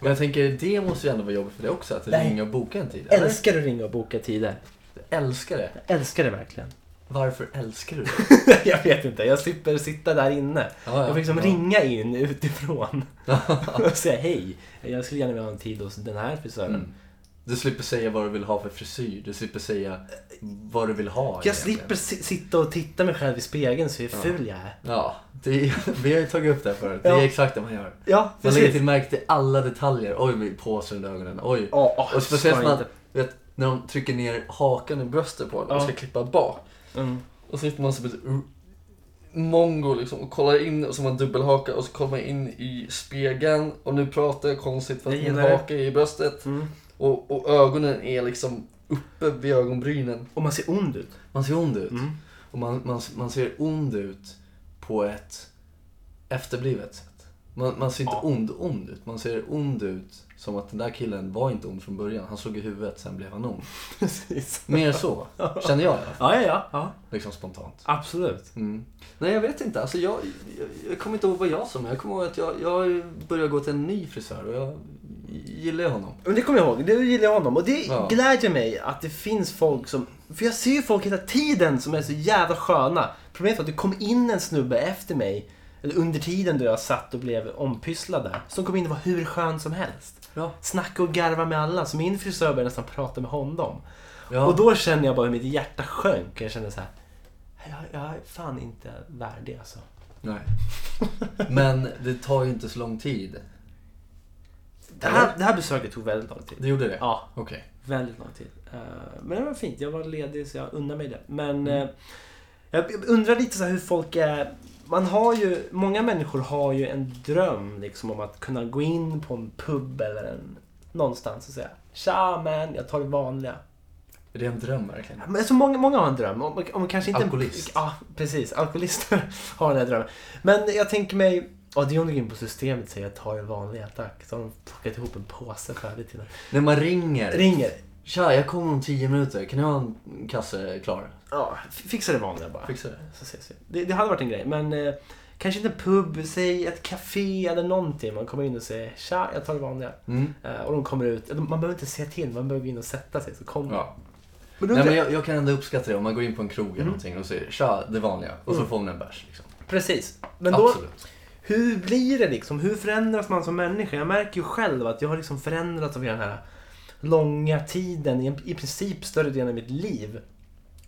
[SPEAKER 2] Men jag tänker, det måste ju ändå vara jobbigt för dig också. Att
[SPEAKER 1] Nej.
[SPEAKER 2] ringa och boka en tid.
[SPEAKER 1] Jag
[SPEAKER 2] eller?
[SPEAKER 1] älskar att ringa och boka tider.
[SPEAKER 2] Älskar det.
[SPEAKER 1] Jag älskar det verkligen.
[SPEAKER 2] Varför älskar du det?
[SPEAKER 1] jag vet inte, jag slipper sitta där inne.
[SPEAKER 2] Ja, ja,
[SPEAKER 1] Jag får liksom
[SPEAKER 2] ja.
[SPEAKER 1] ringa in utifrån och säga hej. Jag skulle gärna vilja ha en tid hos den här frisören.
[SPEAKER 2] Mm. Du slipper säga vad du vill ha för frisyr. Du slipper säga vad du vill ha.
[SPEAKER 1] Jag
[SPEAKER 2] egentligen.
[SPEAKER 1] slipper si- sitta och titta mig själv i spegeln så hur ful jag är.
[SPEAKER 2] Ja, det, vi har ju tagit upp det här förut. Det
[SPEAKER 1] Ja.
[SPEAKER 2] är exakt det man gör.
[SPEAKER 1] Ja,
[SPEAKER 2] Man lägger till märke till alla detaljer. Oj, med påsen under ögonen. Oj.
[SPEAKER 1] Ja, ja,
[SPEAKER 2] och speciellt
[SPEAKER 1] ska
[SPEAKER 2] man,
[SPEAKER 1] inte.
[SPEAKER 2] vet, när de trycker ner hakan i bröstet på en och
[SPEAKER 1] Ja.
[SPEAKER 2] ska klippa bak.
[SPEAKER 1] Mm.
[SPEAKER 2] Och så sitter man som ett r- mongo liksom och kollar in och så har man dubbelhaka och så kollar man in i spegeln och nu pratar jag konstigt för att
[SPEAKER 1] Jag
[SPEAKER 2] min
[SPEAKER 1] gillar det.
[SPEAKER 2] haka är i bröstet
[SPEAKER 1] Mm.
[SPEAKER 2] och, och ögonen är liksom uppe vid ögonbrynen.
[SPEAKER 1] Och man ser ond ut.
[SPEAKER 2] Man ser ond ut.
[SPEAKER 1] Mm.
[SPEAKER 2] Och man, man, man ser ond ut på ett efterblivet sätt. Man, man ser inte
[SPEAKER 1] Ja.
[SPEAKER 2] ond ond ut. Man ser ond ut som att den där killen var inte ond från början. Han slog i huvudet, sen blev han ond.
[SPEAKER 1] Precis.
[SPEAKER 2] Mer så, känner jag i alla fall.
[SPEAKER 1] Ja, ja, ja, ja.
[SPEAKER 2] Liksom spontant.
[SPEAKER 1] Absolut.
[SPEAKER 2] Mm. Nej, jag vet inte. Alltså, jag, jag, jag kommer inte ihåg vad jag sa, men jag kommer ihåg att jag, jag började gå till en ny frisör och jag gillar ju honom.
[SPEAKER 1] Men det kommer jag ihåg. Det gillar jag honom. Och det
[SPEAKER 2] Ja.
[SPEAKER 1] glädjer mig att det finns folk som... För jag ser ju folk hela tiden som är så jävla sköna. Problemet var att det kom in en snubbe efter mig. Eller under tiden då jag satt och blev ompysslad där. Som kom in och var hur skön som helst.
[SPEAKER 2] Ja.
[SPEAKER 1] Snacka och garva med alla. Så min frisör började nästan prata med honom.
[SPEAKER 2] Ja.
[SPEAKER 1] Och då känner jag bara hur mitt hjärta sjönk. Jag kände så här. Jag, jag är fan inte värdig alltså.
[SPEAKER 2] Nej. Men det tar ju inte så lång tid.
[SPEAKER 1] Det här, det här besöket tog väldigt lång tid.
[SPEAKER 2] Det gjorde det?
[SPEAKER 1] Ja,
[SPEAKER 2] Okej.
[SPEAKER 1] väldigt lång tid. Eh, Men det var fint. Jag var ledig så jag unnar mig det. Men eh, jag undrar lite så här hur folk är. Man har ju, många människor har ju en dröm liksom om att kunna gå in på en pub eller en, någonstans och säga Tja man, jag tar det vanliga.
[SPEAKER 2] Är det en dröm verkligen?
[SPEAKER 1] Men så många, många har en dröm. Om, om kanske inte
[SPEAKER 2] Alkoholist.
[SPEAKER 1] En, ja, precis. Alkoholister har den här drömmen. Men jag tänker mig... Ja, det är om du går in på systemet och säger ta det vanliga, tack. Så har de plockat ihop en påse färdigt till dig.
[SPEAKER 2] När man ringer.
[SPEAKER 1] Ringer.
[SPEAKER 2] Tja, jag kommer om tio minuter. Kan ni ha en kasse klar?
[SPEAKER 1] Ja, f- fixa det vanliga bara.
[SPEAKER 2] Fixar det.
[SPEAKER 1] Så ses vi. Det, det hade varit en grej, men eh, kanske inte en pub, säg ett café eller någonting. Man kommer in och säger tja, jag tar det vanliga.
[SPEAKER 2] Mm.
[SPEAKER 1] Eh, och de kommer ut. Man behöver inte säga till, man behöver gå in och sätta sig så kommer de.
[SPEAKER 2] Ja.
[SPEAKER 1] Men då
[SPEAKER 2] Nej,
[SPEAKER 1] undrar
[SPEAKER 2] men
[SPEAKER 1] jag-
[SPEAKER 2] jag, jag kan ändå uppskatta det om man går in på en krog
[SPEAKER 1] Mm.
[SPEAKER 2] eller någonting och säger tja, det vanliga. Och så får man en bärs. Liksom.
[SPEAKER 1] Precis. Mm. Men då,
[SPEAKER 2] Absolut.
[SPEAKER 1] Hur blir det liksom? Hur förändras man som människa? Jag märker ju själv att jag har liksom förändrats av hela den här långa tiden, i- i princip större delen av mitt liv.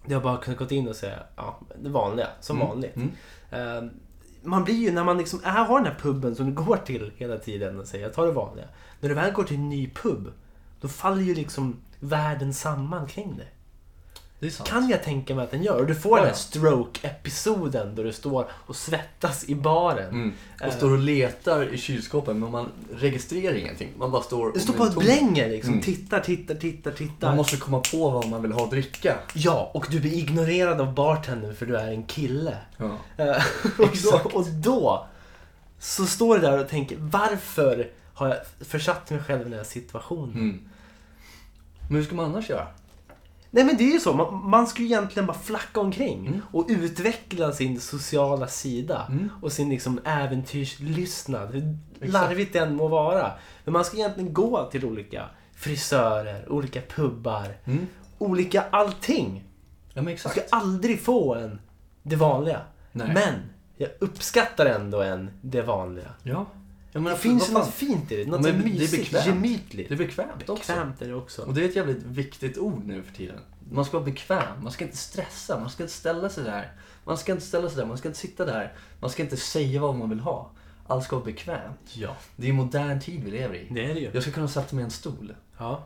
[SPEAKER 1] Där jag bara kunnat gå in och säga, ja, det vanliga, som vanligt.
[SPEAKER 2] Mm.
[SPEAKER 1] Eh, Man blir ju, när man liksom är, har den här puben som du går till hela tiden och säger, jag tar det vanliga. När du väl går till en ny pub, då faller ju liksom världen samman kring dig.
[SPEAKER 2] Det är sant.
[SPEAKER 1] Kan jag tänka mig att den gör. Och du får den här stroke-episoden då du står och svettas i baren.
[SPEAKER 2] Mm.
[SPEAKER 1] Eh.
[SPEAKER 2] Och står och letar i kylskåpen men man registrerar ingenting. Man bara står och...
[SPEAKER 1] Det står på ett blänger liksom.
[SPEAKER 2] Mm.
[SPEAKER 1] Tittar, tittar, tittar, tittar.
[SPEAKER 2] Man måste komma på vad man vill ha att dricka.
[SPEAKER 1] Ja, och du blir ignorerad av bartendern för du är en kille.
[SPEAKER 2] Ja.
[SPEAKER 1] Eh, och,
[SPEAKER 2] Exakt.
[SPEAKER 1] då, och då så står du där och tänker varför har jag försatt mig själv i den här situationen?
[SPEAKER 2] Mm. Men hur ska man annars göra?
[SPEAKER 1] Nej men det är ju så, man, man ska ju egentligen bara flacka omkring
[SPEAKER 2] Mm.
[SPEAKER 1] och utveckla sin sociala sida och sin liksom äventyrslystnad, hur larvigt den må vara. Men man ska egentligen gå till olika frisörer, olika pubbar,
[SPEAKER 2] Mm.
[SPEAKER 1] olika allting.
[SPEAKER 2] Ja men
[SPEAKER 1] Du
[SPEAKER 2] exakt.
[SPEAKER 1] ska aldrig få en det vanliga.
[SPEAKER 2] Nej.
[SPEAKER 1] Men jag uppskattar ändå en det vanliga.
[SPEAKER 2] Ja. ja men
[SPEAKER 1] Det
[SPEAKER 2] vad
[SPEAKER 1] finns ju
[SPEAKER 2] fan.
[SPEAKER 1] något fint i det, något
[SPEAKER 2] Ja, men det är
[SPEAKER 1] mysigt,
[SPEAKER 2] bekvämt.
[SPEAKER 1] gemytligt.
[SPEAKER 2] Det är bekvämt också.
[SPEAKER 1] Bekvämt är det också.
[SPEAKER 2] Och det är ett jävligt viktigt ord nu för tiden. man ska vara bekväm, man ska inte stressa, man ska inte ställa sig där. Man ska inte ställa sig där, man ska inte sitta där. Man ska inte säga vad man vill ha. Allt ska vara bekvämt.
[SPEAKER 1] Ja,
[SPEAKER 2] Det är en modern tid vi lever i.
[SPEAKER 1] det är det ju.
[SPEAKER 2] Jag ska kunna sätta mig i en stol.
[SPEAKER 1] Ja.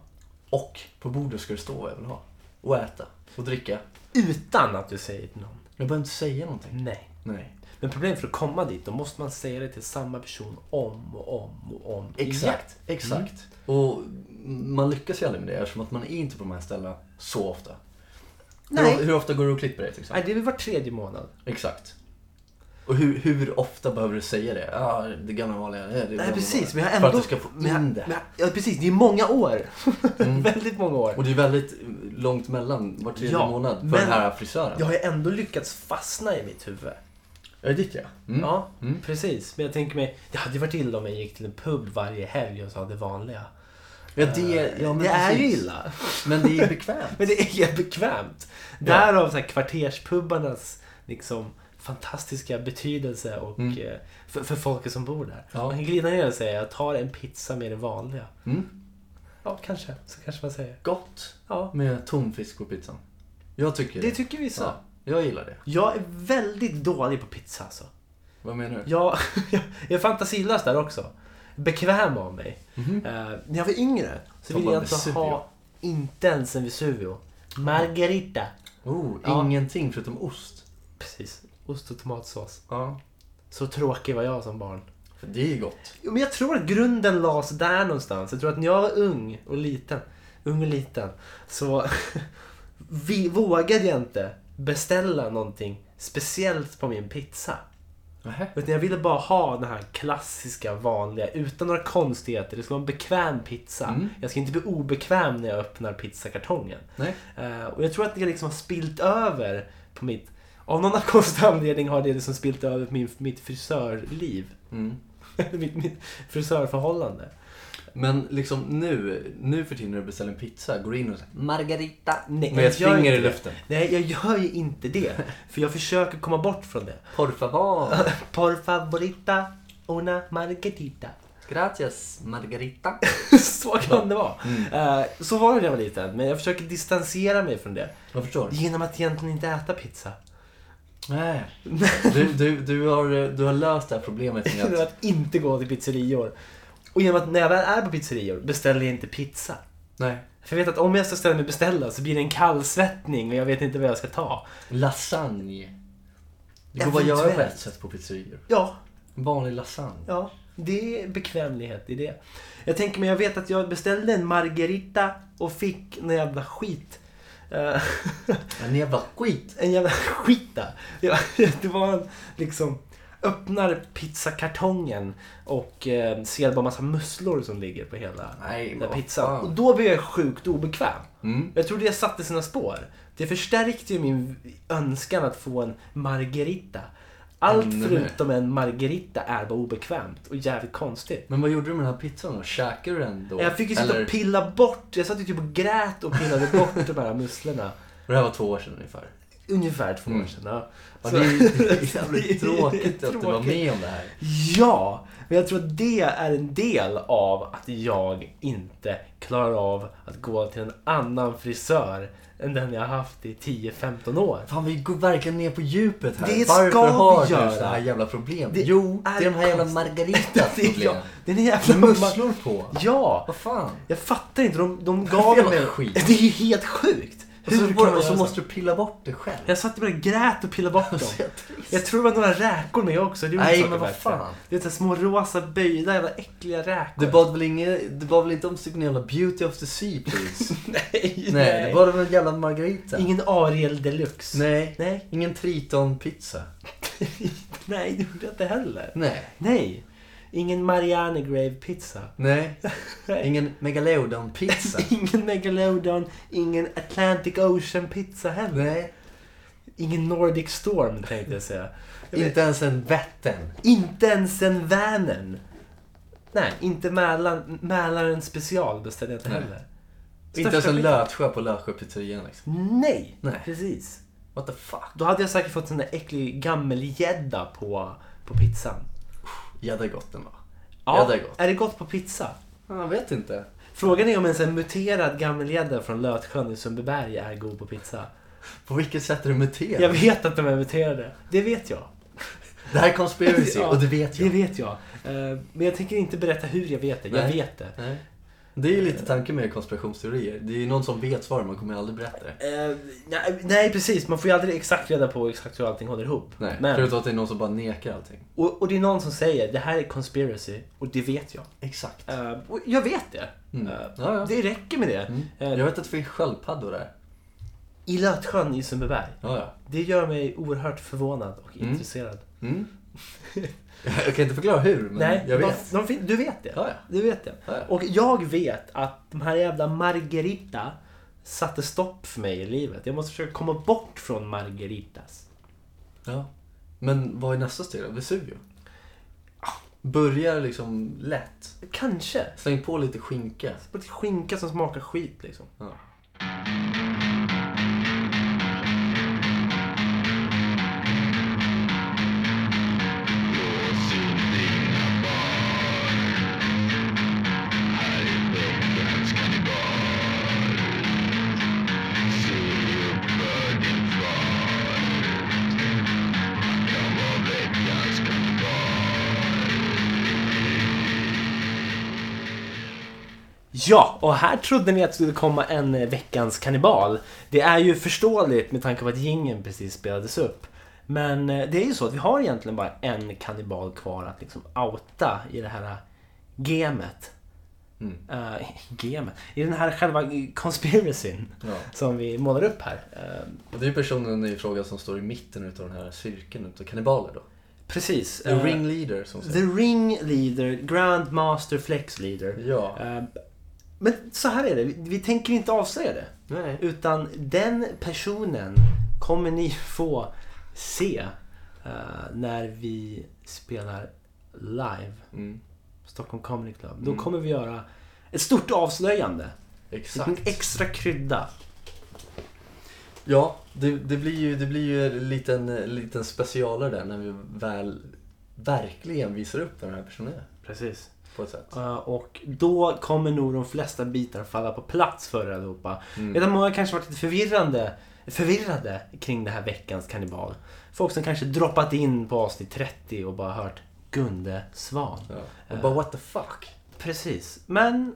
[SPEAKER 2] Och på bordet ska det stå vad jag vill ha. Och äta. Och dricka.
[SPEAKER 1] Utan att du säger till någon.
[SPEAKER 2] Jag behöver inte säga någonting.
[SPEAKER 1] Nej.
[SPEAKER 2] Nej.
[SPEAKER 1] Men problemet för att komma dit, då måste man säga det till samma person om och om och om
[SPEAKER 2] Exakt. Exakt.
[SPEAKER 1] Mm.
[SPEAKER 2] Och man lyckas ju aldrig med det eftersom att man är inte på de här ställena så ofta.
[SPEAKER 1] Nej.
[SPEAKER 2] Hur, hur ofta går du och klipper dig till exempel?
[SPEAKER 1] Nej, det är väl var tredje månad.
[SPEAKER 2] Exakt. Och hur, hur ofta behöver du säga det? Ja, ah, det gamla vanliga. Det, är det
[SPEAKER 1] Nej,
[SPEAKER 2] gamla
[SPEAKER 1] precis. Vi
[SPEAKER 2] vanliga.
[SPEAKER 1] har
[SPEAKER 2] För
[SPEAKER 1] ändå...
[SPEAKER 2] att du ska få
[SPEAKER 1] vi har-
[SPEAKER 2] in det.
[SPEAKER 1] vi har- Ja, precis. Det är många år.
[SPEAKER 2] Mm.
[SPEAKER 1] Väldigt många år.
[SPEAKER 2] Och det är väldigt långt mellan var tredje
[SPEAKER 1] Ja,
[SPEAKER 2] månad för
[SPEAKER 1] men-
[SPEAKER 2] den här frisören.
[SPEAKER 1] Jag har ju ändå lyckats fastna i mitt huvud.
[SPEAKER 2] Är det ditt ja? Mm.
[SPEAKER 1] Ja,
[SPEAKER 2] Mm.
[SPEAKER 1] precis. Men jag tänker mig, det hade ju varit illa om jag gick till en pub varje helg och sa det vanliga.
[SPEAKER 2] Ja, det, ja, men
[SPEAKER 1] det är ju
[SPEAKER 2] precis.
[SPEAKER 1] illa.
[SPEAKER 2] Men det är bekvämt.
[SPEAKER 1] Men det är bekvämt. Därav så här kvarterspubbarnas liksom, fantastiska betydelse och,
[SPEAKER 2] Mm.
[SPEAKER 1] eh, för, för folket som bor där.
[SPEAKER 2] Ja.
[SPEAKER 1] Man kan glida ner och säga jag tar en pizza med det vanliga.
[SPEAKER 2] Mm.
[SPEAKER 1] Ja, kanske. Så kanske man säger.
[SPEAKER 2] Gott
[SPEAKER 1] Ja,
[SPEAKER 2] med tonfisk på pizzan. Jag tycker det.
[SPEAKER 1] det tycker vissa.
[SPEAKER 2] ja, jag gillar det.
[SPEAKER 1] Jag är väldigt dålig på pizza alltså.
[SPEAKER 2] Vad menar du?
[SPEAKER 1] Jag, jag är fantasilös där också. Bekväm av mig.
[SPEAKER 2] Mhm.
[SPEAKER 1] Eh, när jag var yngre så
[SPEAKER 2] Som
[SPEAKER 1] ville jag
[SPEAKER 2] en
[SPEAKER 1] inte
[SPEAKER 2] Vesuvio.
[SPEAKER 1] ha inte ens en Vesuvio. Margarita.
[SPEAKER 2] Oh,
[SPEAKER 1] Ja.
[SPEAKER 2] Ingenting förutom ost.
[SPEAKER 1] Precis. Ost och tomatsås.
[SPEAKER 2] Ja.
[SPEAKER 1] Så tråkig var jag som barn.
[SPEAKER 2] För det är gott.
[SPEAKER 1] Jo, men jag tror att grunden lades där någonstans. Jag tror att när jag var ung och liten, ung och liten, så vi, vågade jag inte beställa någonting speciellt på min pizza.
[SPEAKER 2] Nähä.
[SPEAKER 1] Utan jag ville bara ha den här klassiska, vanliga, utan några konstigheter. Det ska vara en bekväm pizza.
[SPEAKER 2] Mm.
[SPEAKER 1] Jag ska inte bli obekväm när jag öppnar pizzakartongen.
[SPEAKER 2] Nej.
[SPEAKER 1] Eh, och jag tror att det liksom har spilt över på mitt... Av någon konstig anledning har det liksom spilt över på min, mitt frisörliv.
[SPEAKER 2] Mm.
[SPEAKER 1] mitt, mitt frisörförhållande.
[SPEAKER 2] Men liksom nu, nu för tiden när du beställer en pizza, går du in och säger Margarita
[SPEAKER 1] Nej,
[SPEAKER 2] med ett
[SPEAKER 1] jag gör
[SPEAKER 2] finger i
[SPEAKER 1] inte det.
[SPEAKER 2] luften.
[SPEAKER 1] Nej, jag gör ju inte det. För jag försöker komma bort från det.
[SPEAKER 2] Por favor,
[SPEAKER 1] Por favorita una margarita.
[SPEAKER 2] gracias Margarita.
[SPEAKER 1] så kan det vara.
[SPEAKER 2] Mm.
[SPEAKER 1] Eh, så var det när jag var liten. Men jag försöker distansera mig från det.
[SPEAKER 2] Jag förstår.
[SPEAKER 1] Genom att egentligen inte äta pizza.
[SPEAKER 2] Nej. Du, du, du, har, eh, du har löst det här problemet med
[SPEAKER 1] Genom
[SPEAKER 2] att...
[SPEAKER 1] att inte gå till pizzerior. Och genom att när jag väl är på pizzerior beställer jag inte pizza.
[SPEAKER 2] Nej.
[SPEAKER 1] För jag vet att om jag ska ställa mig och beställa så blir det en kallsvettning och jag vet inte vad jag ska ta.
[SPEAKER 2] Lasagne. Det går bara att göra på
[SPEAKER 1] Eventuellt.
[SPEAKER 2] ett sätt på pizzerior.
[SPEAKER 1] Ja,
[SPEAKER 2] En vanlig lasagne.
[SPEAKER 1] ja. Det är bekvämlighet i det. Jag tänker men jag vet att jag beställde en margarita och fick en jävla skit. Eh,
[SPEAKER 2] En jävla skit.
[SPEAKER 1] en jävla skita. Det var- Det var en liksom öppnar pizzakartongen och eh, ser bara massa musslor som ligger på hela
[SPEAKER 2] Nej,
[SPEAKER 1] den
[SPEAKER 2] vad
[SPEAKER 1] där pizzan.
[SPEAKER 2] fan.
[SPEAKER 1] Och då blev jag sjukt obekväm.
[SPEAKER 2] Mm.
[SPEAKER 1] Jag tror det satte sina spår. Det förstärkte ju min önskan att få en margarita. Allt
[SPEAKER 2] Ännu mer.
[SPEAKER 1] förutom en margarita är bara obekvämt och jävligt konstigt.
[SPEAKER 2] Men vad gjorde du med den här pizzan då? Käkade du den då?
[SPEAKER 1] Jag fick ju sitta
[SPEAKER 2] Eller,
[SPEAKER 1] och pilla bort, jag satt ju typ och grät och pillade bort de här musslorna.
[SPEAKER 2] och det här var två år sedan ungefär.
[SPEAKER 1] Ungefär två
[SPEAKER 2] Mm.
[SPEAKER 1] år sedan. Ja.
[SPEAKER 2] Ja,
[SPEAKER 1] Så-
[SPEAKER 2] det är det är
[SPEAKER 1] det är
[SPEAKER 2] jävligt tråkigt att du var
[SPEAKER 1] tråkigt.
[SPEAKER 2] med om det här.
[SPEAKER 1] Ja, men jag tror att det är en del av att jag inte klarar av att gå till en annan frisör än den jag har haft i 10-15 år.
[SPEAKER 2] Fan vi går verkligen ner på djupet här.
[SPEAKER 1] Det
[SPEAKER 2] Varför
[SPEAKER 1] ska vi
[SPEAKER 2] har
[SPEAKER 1] göra.
[SPEAKER 2] du så här jävla problem?
[SPEAKER 1] Det
[SPEAKER 2] jo, det
[SPEAKER 1] är
[SPEAKER 2] är de här jävla
[SPEAKER 1] konstigt.
[SPEAKER 2] Margaritas
[SPEAKER 1] Det är
[SPEAKER 2] problem.
[SPEAKER 1] jag. Den är jävla
[SPEAKER 2] Med musslor på.
[SPEAKER 1] Ja,
[SPEAKER 2] Vad fan?
[SPEAKER 1] jag fattar inte. De, de
[SPEAKER 2] Vad
[SPEAKER 1] gav
[SPEAKER 2] jävla
[SPEAKER 1] mig...
[SPEAKER 2] skit.
[SPEAKER 1] Det är ju helt sjukt.
[SPEAKER 2] Och så,
[SPEAKER 1] Hur kan man
[SPEAKER 2] och
[SPEAKER 1] göra
[SPEAKER 2] så
[SPEAKER 1] så?
[SPEAKER 2] måste du pilla bort det själv.
[SPEAKER 1] Jag satt bara och grät och pillade bort dem.
[SPEAKER 2] Så jävla trist.
[SPEAKER 1] Jag tror det var några räkor med också. Det gjorde
[SPEAKER 2] Nej,
[SPEAKER 1] saker
[SPEAKER 2] men vad
[SPEAKER 1] värre.
[SPEAKER 2] fan.
[SPEAKER 1] Det är så här små rosa böjda jävla äckliga räkor.
[SPEAKER 2] Du bad väl, inge, du bad väl inte om någon jävla beauty of the sea please?
[SPEAKER 1] Nej,
[SPEAKER 2] Nej, du bad om en jävla margarita.
[SPEAKER 1] Ingen Ariel deluxe.
[SPEAKER 2] Nej.
[SPEAKER 1] Nej,
[SPEAKER 2] Ingen tritonpizza.
[SPEAKER 1] nej, det gjorde jag inte heller.
[SPEAKER 2] Nej.
[SPEAKER 1] Nej. Ingen Marianne Grave pizza.
[SPEAKER 2] Nej.
[SPEAKER 1] Nej.
[SPEAKER 2] Ingen megalodonpizza.
[SPEAKER 1] Ingen Megalodon, ingen Atlantic Ocean pizza heller.
[SPEAKER 2] Nej.
[SPEAKER 1] Ingen Nordic Storm tänkte jag säga. Jag vet,
[SPEAKER 2] Inte ens en Vättern.
[SPEAKER 1] inte ens en Vänern. Nej, inte Mälaren, Mälaren special beställde jag inte
[SPEAKER 2] Nej.
[SPEAKER 1] heller.
[SPEAKER 2] Inte ens
[SPEAKER 1] Största
[SPEAKER 2] en
[SPEAKER 1] skit-
[SPEAKER 2] Lötsjö på Lötsjöpizzerian liksom.
[SPEAKER 1] Nej,
[SPEAKER 2] Nej.
[SPEAKER 1] precis.
[SPEAKER 2] What the fuck?
[SPEAKER 1] Då hade jag säkert fått en där äcklig gammelgädda på, på pizzan.
[SPEAKER 2] Gädda är gott ändå.
[SPEAKER 1] Ja,
[SPEAKER 2] Gädda är gott.
[SPEAKER 1] är det gott på pizza?
[SPEAKER 2] Jag vet inte.
[SPEAKER 1] Frågan är om en sån här muterad gammelgädda från Lötsjön i Sundbyberg är god på pizza.
[SPEAKER 2] På vilket sätt är det muterat?
[SPEAKER 1] Jag vet att de är muterade. Det vet jag.
[SPEAKER 2] Det här är conspiracy
[SPEAKER 1] Ja,
[SPEAKER 2] och det vet
[SPEAKER 1] Det
[SPEAKER 2] jag.
[SPEAKER 1] vet jag. Eh, Men jag tänker inte berätta hur jag vet det. Jag
[SPEAKER 2] Nej.
[SPEAKER 1] vet det.
[SPEAKER 2] Nej. Det är ju lite tanken med konspirationsteorier. Det är ju någon som vet svaret, man kommer aldrig berätta det.
[SPEAKER 1] Eh, nej, nej, precis. Man får ju aldrig exakt reda på exakt hur allting håller ihop.
[SPEAKER 2] Nej,
[SPEAKER 1] Men,
[SPEAKER 2] förutom att det är någon som bara nekar allting.
[SPEAKER 1] och, och det är någon som säger det här är conspiracy och det vet jag.
[SPEAKER 2] Exakt.
[SPEAKER 1] Eh, och jag vet det.
[SPEAKER 2] Mm.
[SPEAKER 1] Eh,
[SPEAKER 2] Ja, ja.
[SPEAKER 1] Det räcker med det.
[SPEAKER 2] Mm.
[SPEAKER 1] Eh,
[SPEAKER 2] Jag vet att det finns sköldpaddor där.
[SPEAKER 1] I Lötsjön i Sundbyberg.
[SPEAKER 2] Ja, ja.
[SPEAKER 1] Det gör mig oerhört förvånad och
[SPEAKER 2] Mm.
[SPEAKER 1] intresserad.
[SPEAKER 2] Mm. jag kan inte förklara hur, men
[SPEAKER 1] Nej,
[SPEAKER 2] jag
[SPEAKER 1] de-
[SPEAKER 2] vet.
[SPEAKER 1] De, fin- du vet det.
[SPEAKER 2] Ja, ja.
[SPEAKER 1] Du vet det.
[SPEAKER 2] Ja, ja.
[SPEAKER 1] Och jag vet att de här jävla Margarita satte stopp för mig i livet. Jag måste försöka komma bort från Margaritas.
[SPEAKER 2] Ja. Men vad är nästa steg då? Vesuvio? Börjar liksom lätt.
[SPEAKER 1] Kanske.
[SPEAKER 2] Släng på lite skinka.
[SPEAKER 1] På lite skinka som smakar skit liksom.
[SPEAKER 2] Ja.
[SPEAKER 1] Ja, och här trodde ni att det skulle komma en eh, veckans kannibal. Det är ju förståeligt med tanke på att gingen precis spelades upp. Men eh, det är ju så att vi har egentligen bara en kannibal kvar att liksom outa i det här eh, gamet.
[SPEAKER 2] Mm.
[SPEAKER 1] Eh, gamet? I den här själva conspiracyn
[SPEAKER 2] Ja.
[SPEAKER 1] som vi målar upp här. Eh,
[SPEAKER 2] Och det är ju personen i fråga som står i mitten utav den här cirkeln utav kannibaler då.
[SPEAKER 1] precis.
[SPEAKER 2] The
[SPEAKER 1] eh,
[SPEAKER 2] ringleader som
[SPEAKER 1] the
[SPEAKER 2] säger.
[SPEAKER 1] ring leader, grand master flex leader.
[SPEAKER 2] Ja.
[SPEAKER 1] Eh, Men så här är det, vi, vi tänker inte avslöja det.
[SPEAKER 2] Nej.
[SPEAKER 1] Utan den personen kommer ni få se eh, när vi spelar live
[SPEAKER 2] Mm.
[SPEAKER 1] Stockholm Comedy Club. Då kommer vi göra ett stort avslöjande. En
[SPEAKER 2] Exakt.
[SPEAKER 1] extra krydda.
[SPEAKER 2] Ja, det, det, blir ju, det blir ju en liten, liten specialare där när vi väl verkligen visar upp vem den här personen är.
[SPEAKER 1] Precis.
[SPEAKER 2] På ett sätt.
[SPEAKER 1] Eh, och då kommer nog de flesta bitar falla på plats för er allihopa.
[SPEAKER 2] Mm.
[SPEAKER 1] Redan många kanske varit lite förvirrande, förvirrade kring det här veckans kannibal. Folk som kanske droppat in på avsnitt 30 och bara hört Gunde Svan.
[SPEAKER 2] Ja. Och bara what the fuck.
[SPEAKER 1] Precis, men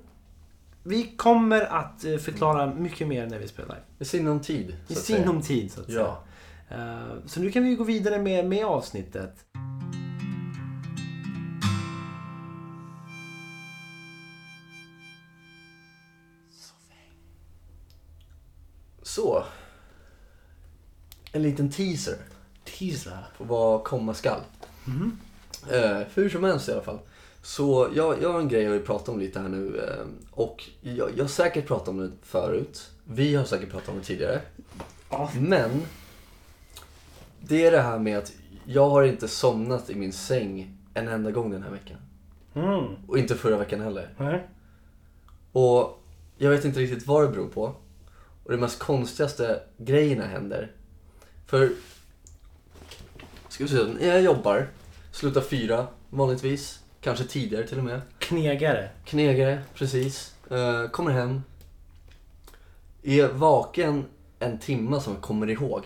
[SPEAKER 1] vi kommer att eh, förklara mycket mer när vi spelar.
[SPEAKER 2] I sinom tid.
[SPEAKER 1] I
[SPEAKER 2] så att
[SPEAKER 1] sinom tid så att
[SPEAKER 2] Ja.
[SPEAKER 1] säga. Eh, Så nu kan vi ju gå vidare med, med avsnittet.
[SPEAKER 2] Så. En liten teaser
[SPEAKER 1] Teaser.
[SPEAKER 2] på vad komma skall.
[SPEAKER 1] Mm.
[SPEAKER 2] Eh, hur som helst i alla fall. Så jag, jag har en grej jag vill prata om lite här nu. Eh, och jag, jag har säkert pratat om det förut. Vi har säkert pratat om det tidigare.
[SPEAKER 1] Ja.
[SPEAKER 2] Men. Det är det här med att jag har inte somnat i min säng en enda gång den här veckan.
[SPEAKER 1] Mm.
[SPEAKER 2] Och inte förra veckan heller.
[SPEAKER 1] Nej.
[SPEAKER 2] Och jag vet inte riktigt vad det beror på. Och det mest konstigaste grejerna händer. För... Ska vi se, när jag jobbar, slutar fyra vanligtvis. Kanske tidigare till och med.
[SPEAKER 1] Knegare.
[SPEAKER 2] Knegare, precis. Eh, kommer hem. Är vaken en timma som jag kommer ihåg.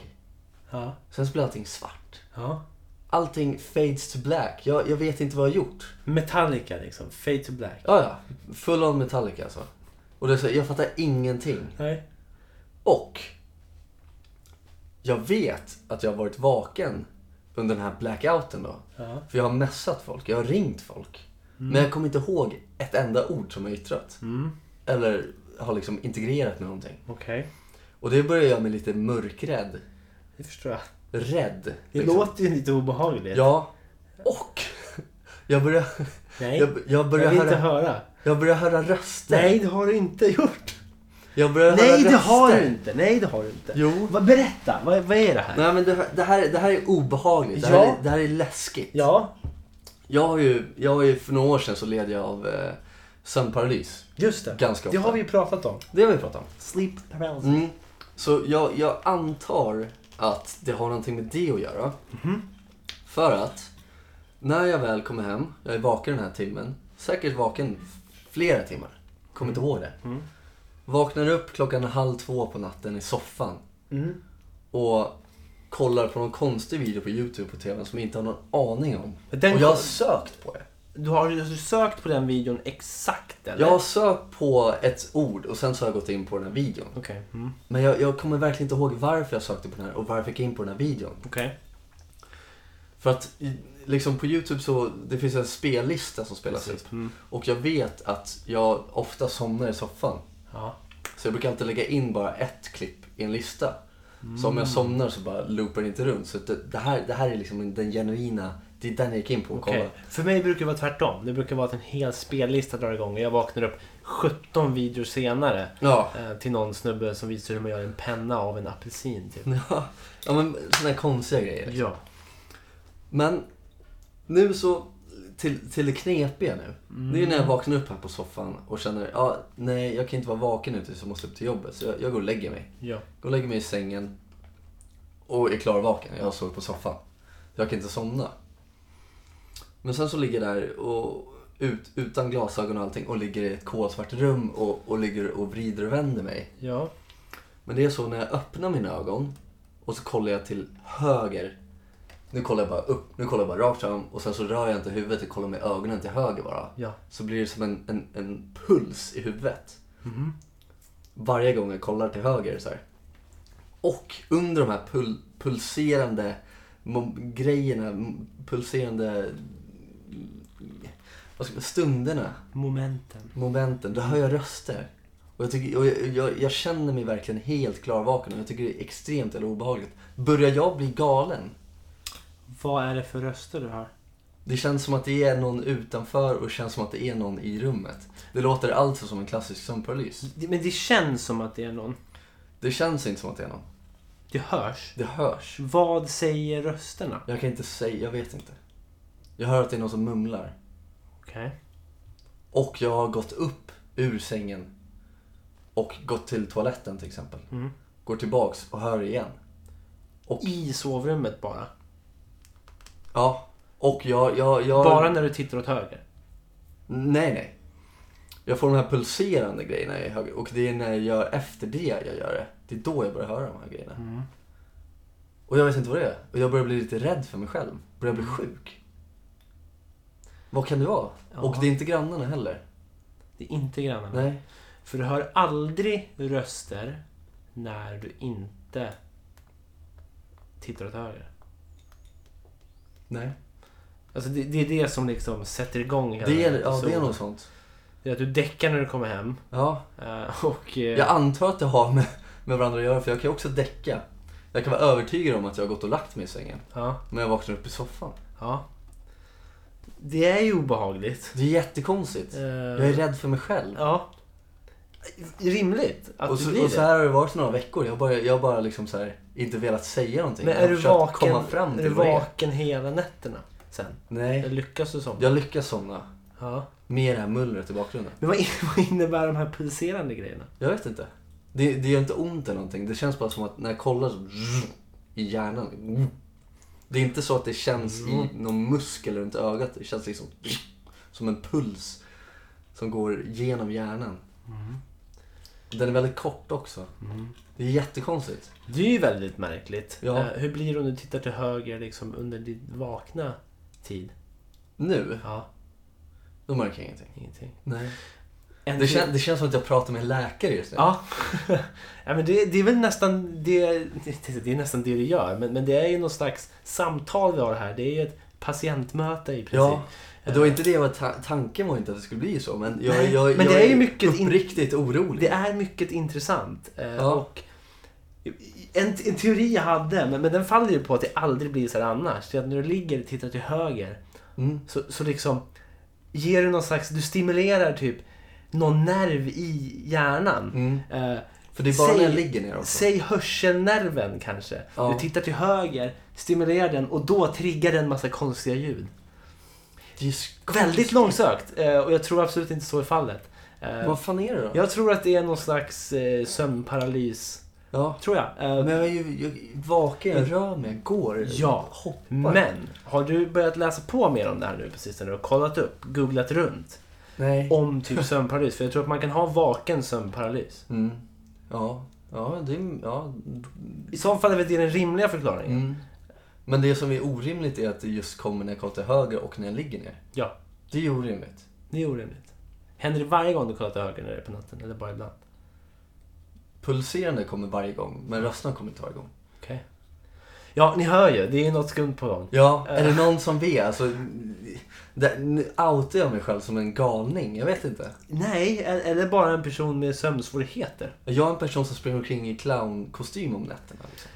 [SPEAKER 1] Ja.
[SPEAKER 2] Sen så blir allting svart.
[SPEAKER 1] ja.
[SPEAKER 2] Allting fades to black. Jag, jag vet inte vad jag har gjort.
[SPEAKER 1] Metallica liksom. Fade to black.
[SPEAKER 2] Ja, ja. Full on Metallica alltså. Och det är så, jag fattar ingenting.
[SPEAKER 1] Nej.
[SPEAKER 2] Och jag vet att jag har varit vaken under den här blackouten då.
[SPEAKER 1] Ja.
[SPEAKER 2] För jag har messat folk, jag har ringt folk. Men jag kommer inte ihåg ett enda ord som jag yttrat.
[SPEAKER 1] Mm.
[SPEAKER 2] Eller har liksom integrerat med någonting.
[SPEAKER 1] Okej.
[SPEAKER 2] Och det börjar göra mig lite mörkrädd.
[SPEAKER 1] Det förstår jag.
[SPEAKER 2] Rädd.
[SPEAKER 1] Det
[SPEAKER 2] liksom.
[SPEAKER 1] låter ju lite obehagligt.
[SPEAKER 2] Ja. Och jag börjar,
[SPEAKER 1] Nej.
[SPEAKER 2] jag, jag
[SPEAKER 1] jag
[SPEAKER 2] börjar,
[SPEAKER 1] vill inte
[SPEAKER 2] höra,
[SPEAKER 1] höra.
[SPEAKER 2] jag börjar höra röster.
[SPEAKER 1] Nej, det har du inte gjort.
[SPEAKER 2] Jag börjar höra
[SPEAKER 1] Nej, det
[SPEAKER 2] röster.
[SPEAKER 1] har du inte. Nej, det har du inte.
[SPEAKER 2] Jo.
[SPEAKER 1] Vad- Berätta. Vad, vad är det här?
[SPEAKER 2] Nej men det, det, här, det här är obehagligt. Det här,
[SPEAKER 1] Ja.
[SPEAKER 2] är, det här är läskigt.
[SPEAKER 1] Ja,
[SPEAKER 2] Jag har ju, jag har ju för några år sedan så led jag av eh, sömnparalys.
[SPEAKER 1] just det.
[SPEAKER 2] Ganska
[SPEAKER 1] Det
[SPEAKER 2] ofta.
[SPEAKER 1] har vi ju pratat om.
[SPEAKER 2] Det har vi pratat om.
[SPEAKER 1] Sleep paralysis.
[SPEAKER 2] Mm. Så jag, jag antar att det har någonting med det att göra.
[SPEAKER 1] Mhm.
[SPEAKER 2] För att när jag väl kommer hem, jag är vaken den här timmen, säkert vaken flera timmar. Kommer inte ihåg det.
[SPEAKER 1] Mm.
[SPEAKER 2] Vaknar upp klockan halv två på natten i soffan
[SPEAKER 1] Mm.
[SPEAKER 2] och kollar på någon konstig video på Youtube på TVn som jag inte har någon aning om.
[SPEAKER 1] Den
[SPEAKER 2] och jag har
[SPEAKER 1] kom-
[SPEAKER 2] sökt på det.
[SPEAKER 1] Du har du har sökt på den videon exakt eller?
[SPEAKER 2] Jag har sökt på ett ord och sen så har jag gått in på den här videon.
[SPEAKER 1] Okej. Mm.
[SPEAKER 2] Men jag, jag kommer verkligen inte ihåg varför jag sökte på den här och varför jag gick in på den här videon.
[SPEAKER 1] Okej.
[SPEAKER 2] För att i- liksom på Youtube så det finns en spellista som spelas upp.
[SPEAKER 1] Mm.
[SPEAKER 2] Och jag vet att jag ofta somnar i soffan.
[SPEAKER 1] Ja.
[SPEAKER 2] Så jag brukar alltid lägga in bara ett klipp i en lista. Så om
[SPEAKER 1] Mm.
[SPEAKER 2] jag somnar så bara loopar det inte runt. Så det, det, här, det här är liksom den genuina, det är den jag gick in på och
[SPEAKER 1] Okej.
[SPEAKER 2] kollade.
[SPEAKER 1] För mig brukar det vara tvärtom. Det brukar vara att en hel spellista drar igång och jag vaknar upp 17 videor senare
[SPEAKER 2] Ja.
[SPEAKER 1] eh, till någon snubbe som visar hur man gör en penna av en apelsin. Typ.
[SPEAKER 2] ja. Ja men sådana här konstiga grejer. liksom.
[SPEAKER 1] Ja.
[SPEAKER 2] Men nu så, till, till det knepiga nu. Det är när jag vaknar upp här på soffan och känner, ja, nej jag kan inte vara vaken nu tills jag måste upp till jobbet. Så jag, jag går och lägger mig.
[SPEAKER 1] Ja.
[SPEAKER 2] Går och lägger mig i sängen och är klarvaken. Jag har sovit på soffan. Jag kan inte somna. Men sen så ligger jag där och ut, utan glasögon och allting och ligger i ett kolsvart rum och, och ligger och vrider och vänder mig.
[SPEAKER 1] Ja.
[SPEAKER 2] Men det är så när jag öppnar mina ögon och så kollar jag till höger. Nu kollar jag bara upp, nu kollar jag bara rakt fram och sen så rör jag inte huvudet och kollar med ögonen till höger bara.
[SPEAKER 1] Ja.
[SPEAKER 2] Så blir det som en, en, en puls i huvudet.
[SPEAKER 1] Mhm.
[SPEAKER 2] Varje gång jag kollar till höger så här. Och under de här pul, pulserande mom- grejerna, m- pulserande vad ska, man- stunderna
[SPEAKER 1] Momenten.
[SPEAKER 2] momenten, då hör jag röster. Och jag, tycker, och jag, jag, jag känner mig verkligen helt klarvaken och jag tycker det är extremt eller obehagligt. Börjar jag bli galen?
[SPEAKER 1] Vad är det för röster du hör?
[SPEAKER 2] Det känns som att det är någon utanför och det känns som att det är någon i rummet. Det låter alltså som en klassisk sömnparalys.
[SPEAKER 1] Det- Men det känns som att det är någon.
[SPEAKER 2] Det känns inte som att det är någon.
[SPEAKER 1] Det hörs.
[SPEAKER 2] Det hörs.
[SPEAKER 1] Vad säger rösterna?
[SPEAKER 2] Jag kan inte säga, jag vet inte. Jag hör att det är någon som mumlar.
[SPEAKER 1] Okej.
[SPEAKER 2] Och jag har gått upp ur sängen och gått till toaletten till exempel.
[SPEAKER 1] Mm.
[SPEAKER 2] Går tillbaks och hör igen.
[SPEAKER 1] I sovrummet bara.
[SPEAKER 2] Ja. Och jag, jag, jag...
[SPEAKER 1] Bara när du tittar åt höger.
[SPEAKER 2] Nej, nej. Jag får de här pulserande grejerna i höger och det är när jag gör efter det jag gör det. Det är då jag börjar höra de här grejerna.
[SPEAKER 1] Mm.
[SPEAKER 2] Och jag vet inte vad det är. Och jag börjar bli lite rädd för mig själv. Börjar bli sjuk. Vad kan det vara?
[SPEAKER 1] Ja.
[SPEAKER 2] Och det är inte grannarna heller.
[SPEAKER 1] Det är inte grannarna.
[SPEAKER 2] Nej.
[SPEAKER 1] För du hör aldrig röster när du inte tittar åt höger.
[SPEAKER 2] Nej.
[SPEAKER 1] Alltså det, det är det som liksom sätter igång hela
[SPEAKER 2] Det är,
[SPEAKER 1] den här
[SPEAKER 2] ja, det är
[SPEAKER 1] episoden.
[SPEAKER 2] något sånt.
[SPEAKER 1] Det är att du däckar när du kommer hem.
[SPEAKER 2] Ja.
[SPEAKER 1] eh, Och... eh,
[SPEAKER 2] Jag antar att det har med, med varandra att göra för jag kan ju också däcka. Jag kan vara övertygad om att jag har gått och lagt mig i sängen.
[SPEAKER 1] ja,
[SPEAKER 2] Men jag vaknar upp i soffan.
[SPEAKER 1] ja. Det är ju obehagligt.
[SPEAKER 2] Det är jättekonstigt.
[SPEAKER 1] Eh,
[SPEAKER 2] Jag är rädd för mig själv.
[SPEAKER 1] Ja. Rimligt att
[SPEAKER 2] och,
[SPEAKER 1] du
[SPEAKER 2] så,
[SPEAKER 1] blir
[SPEAKER 2] och så här har det varit några veckor. Jag har bara, jag har bara liksom så här, inte velat säga
[SPEAKER 1] det.
[SPEAKER 2] någonting.
[SPEAKER 1] Men
[SPEAKER 2] jag har
[SPEAKER 1] är du
[SPEAKER 2] försökt
[SPEAKER 1] vaken,
[SPEAKER 2] komma fram
[SPEAKER 1] är du
[SPEAKER 2] till vad det är.
[SPEAKER 1] vaken hela nätterna sen?
[SPEAKER 2] Nej,
[SPEAKER 1] Lyckas du somna?
[SPEAKER 2] jag lyckas somna.
[SPEAKER 1] Ja.
[SPEAKER 2] Med det här mullret i bakgrunden.
[SPEAKER 1] Men vad in- vad innebär de här pulserande grejerna?
[SPEAKER 2] Jag vet inte. Det, det gör inte ont eller någonting. Det känns bara som att när jag kollar så... I hjärnan. Det är inte så att det känns
[SPEAKER 1] Mm.
[SPEAKER 2] i någon muskel runt ögat. Det känns liksom som en puls som går genom hjärnan.
[SPEAKER 1] Mm.
[SPEAKER 2] Den är väldigt kort också. Det är jättekonstigt.
[SPEAKER 1] Det är ju väldigt märkligt.
[SPEAKER 2] Ja.
[SPEAKER 1] Eh, Hur blir det om du tittar till höger liksom under din vakna tid?
[SPEAKER 2] Nu,
[SPEAKER 1] Ja,
[SPEAKER 2] då märker jag ingenting.
[SPEAKER 1] ingenting.
[SPEAKER 2] Nej.
[SPEAKER 1] En
[SPEAKER 2] Det,
[SPEAKER 1] till-
[SPEAKER 2] kän, det känns som att jag pratar med en läkare just nu.
[SPEAKER 1] Ja. ja men det, det är väl nästan det, det, det är nästan det du gör. Men, men det är ju någon slags samtal vi har här. Det är ju ett patientmöte i princip.
[SPEAKER 2] Ja, och det var inte det jag var ta- tanken var inte att det skulle bli så. Men jag,
[SPEAKER 1] Nej,
[SPEAKER 2] jag,
[SPEAKER 1] men
[SPEAKER 2] jag
[SPEAKER 1] det är ju mycket in-
[SPEAKER 2] uppriktigt orolig.
[SPEAKER 1] Det är mycket intressant. eh,
[SPEAKER 2] Ja.
[SPEAKER 1] Och en, en teori jag hade, men, men den faller ju på att det aldrig blir så här annars. Det är att när du ligger och tittar till höger
[SPEAKER 2] Mm.
[SPEAKER 1] så, så liksom ger du någon slags, du stimulerar typ någon nerv i hjärnan.
[SPEAKER 2] Mm.
[SPEAKER 1] Eh,
[SPEAKER 2] För det är bara
[SPEAKER 1] Säg-
[SPEAKER 2] när jag ligger ner också.
[SPEAKER 1] Säg hörselnerven kanske.
[SPEAKER 2] Ja.
[SPEAKER 1] Du tittar till höger, stimulerar den och då triggar den massa konstiga ljud.
[SPEAKER 2] Det är ju sk-
[SPEAKER 1] Väldigt långsökt eh, och jag tror absolut inte så är fallet. Eh,
[SPEAKER 2] Vad fan är det då?
[SPEAKER 1] Jag tror att det är någon slags eh, sömnparalys.
[SPEAKER 2] Ja.
[SPEAKER 1] Tror jag. Eh,
[SPEAKER 2] Men jag är ju jag är vaken, jag rör mig, jag går,
[SPEAKER 1] Ja,
[SPEAKER 2] hoppar.
[SPEAKER 1] Men har du börjat läsa på mer om det här nu på sistone? Du har kollat upp, googlat runt.
[SPEAKER 2] Nej.
[SPEAKER 1] om typ sömnparalys. För jag tror att man kan ha vaken sömnparalys.
[SPEAKER 2] Mm. Ja. Ja, det är... Ja.
[SPEAKER 1] I så fall är väl det den rimliga förklaringen.
[SPEAKER 2] Mm. Men det som är orimligt är att det just kommer när jag kollar till höger och när jag ligger ner.
[SPEAKER 1] Ja,
[SPEAKER 2] Det är orimligt.
[SPEAKER 1] det är orimligt. Händer det varje gång du kollar till höger när det är på natten? Eller bara ibland?
[SPEAKER 2] Pulserande kommer varje gång, men rösterna kommer inte varje gång.
[SPEAKER 1] Okej. Ja, ni hör ju. Det är något skumt på gång.
[SPEAKER 2] Ja, är det någon som vet? Alltså, det, nu outar jag mig själv som en galning. Jag vet inte.
[SPEAKER 1] Nej, e- eller bara en person med sömnsvårigheter.
[SPEAKER 2] Jag är en person som springer omkring i clownkostym om nätterna. Liksom.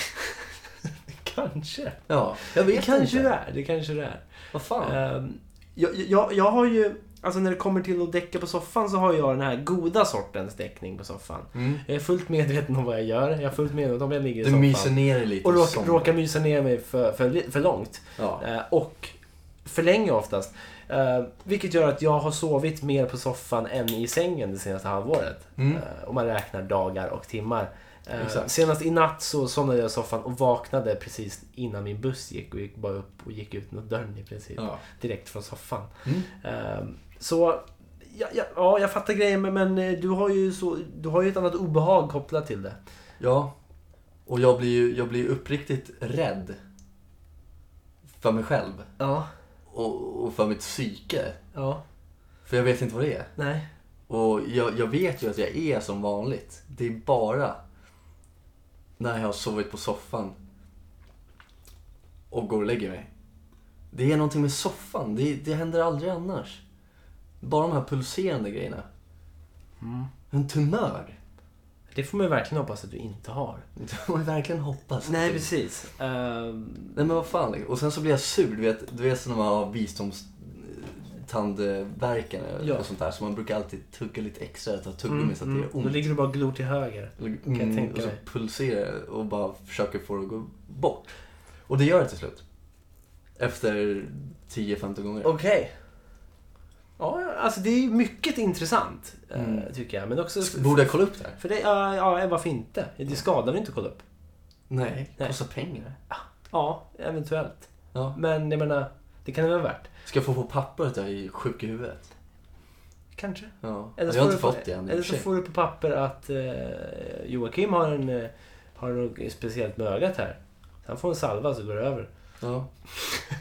[SPEAKER 1] Kanske.
[SPEAKER 2] Ja, jag
[SPEAKER 1] Det
[SPEAKER 2] vet
[SPEAKER 1] kanske det
[SPEAKER 2] inte.
[SPEAKER 1] är. Det kanske det är.
[SPEAKER 2] Vad fan?
[SPEAKER 1] Ehm, jag, jag, jag har ju, alltså när det kommer till att däcka på soffan så har jag den här goda sortens däckning på soffan.
[SPEAKER 2] Mm.
[SPEAKER 1] Jag är fullt medveten om vad jag gör. Jag är fullt medveten om jag ligger i
[SPEAKER 2] Du
[SPEAKER 1] soffan.
[SPEAKER 2] myser ner dig lite.
[SPEAKER 1] och råk,
[SPEAKER 2] somnar.
[SPEAKER 1] råkar mysa ner mig för, för, li- för långt.
[SPEAKER 2] Ja.
[SPEAKER 1] Eh, och för länge oftast. Eh, vilket gör att jag har sovit mer på soffan än i sängen det senaste halvåret.
[SPEAKER 2] Mm.
[SPEAKER 1] Eh, om man räknar dagar och timmar. Eh,
[SPEAKER 2] Exakt.
[SPEAKER 1] senast i natt så somnade jag i soffan och vaknade precis innan min buss gick och gick bara upp och gick ut mot dörren i princip.
[SPEAKER 2] Ja.
[SPEAKER 1] Direkt från soffan.
[SPEAKER 2] Mm.
[SPEAKER 1] Ehm, så ja, ja, ja, jag fattar grejen men, men eh, du, har ju så, du har ju ett annat obehag kopplat till det.
[SPEAKER 2] ja. Och jag blir ju jag blir ju uppriktigt rädd. För mig själv.
[SPEAKER 1] Ja.
[SPEAKER 2] Och, och för mitt psyke.
[SPEAKER 1] Ja.
[SPEAKER 2] För jag vet inte vad det är.
[SPEAKER 1] Nej.
[SPEAKER 2] Och jag, jag vet ju att jag är som vanligt. Det är bara när jag har sovit på soffan och går och lägger mig. Det är någonting med soffan. Det, det händer aldrig annars. Bara de här pulserande grejerna.
[SPEAKER 1] Mm.
[SPEAKER 2] En tumör.
[SPEAKER 1] Det får man ju verkligen hoppas att du inte har.
[SPEAKER 2] Det får man verkligen hoppas. att
[SPEAKER 1] Nej,
[SPEAKER 2] det-
[SPEAKER 1] precis. Ehm,
[SPEAKER 2] Nej men vad fan. Och sen så blir jag sur. Du vet, du vet när man har visdomstandvärken
[SPEAKER 1] Ja.
[SPEAKER 2] och sånt där. Så man brukar alltid tugga lite extra. Ta tuggummi
[SPEAKER 1] mm,
[SPEAKER 2] så att det gör
[SPEAKER 1] mm. Då
[SPEAKER 2] ont.
[SPEAKER 1] ligger du bara och glor till höger.
[SPEAKER 2] Mm,
[SPEAKER 1] jag tänka
[SPEAKER 2] och så
[SPEAKER 1] mig.
[SPEAKER 2] pulserar det och bara försöker få det att gå bort. Och det gör det till slut. Efter 10-15 gånger.
[SPEAKER 1] Okej. Ja, alltså det är ju mycket intressant. eh,
[SPEAKER 2] Mm.
[SPEAKER 1] Tycker jag. Men också...
[SPEAKER 2] Borde jag kolla upp det här?
[SPEAKER 1] För det, ja, ja, varför inte? Det skadar väl inte att kolla upp?
[SPEAKER 2] Nej,
[SPEAKER 1] Nej.
[SPEAKER 2] kostar pengar.
[SPEAKER 1] Ja, eventuellt.
[SPEAKER 2] Ja.
[SPEAKER 1] Men jag menar, det kan det väl vara värt?
[SPEAKER 2] Ska jag få på papper att jag är sjuk i huvudet?
[SPEAKER 1] Kanske.
[SPEAKER 2] Ja.
[SPEAKER 1] Eller så
[SPEAKER 2] jag har
[SPEAKER 1] får
[SPEAKER 2] inte
[SPEAKER 1] du-
[SPEAKER 2] fått det än i och
[SPEAKER 1] Eller
[SPEAKER 2] för
[SPEAKER 1] så
[SPEAKER 2] sig.
[SPEAKER 1] får du på papper att eh, Joakim har en eh, har något speciellt med ögat här. Han får en salva så går det över.
[SPEAKER 2] Ja.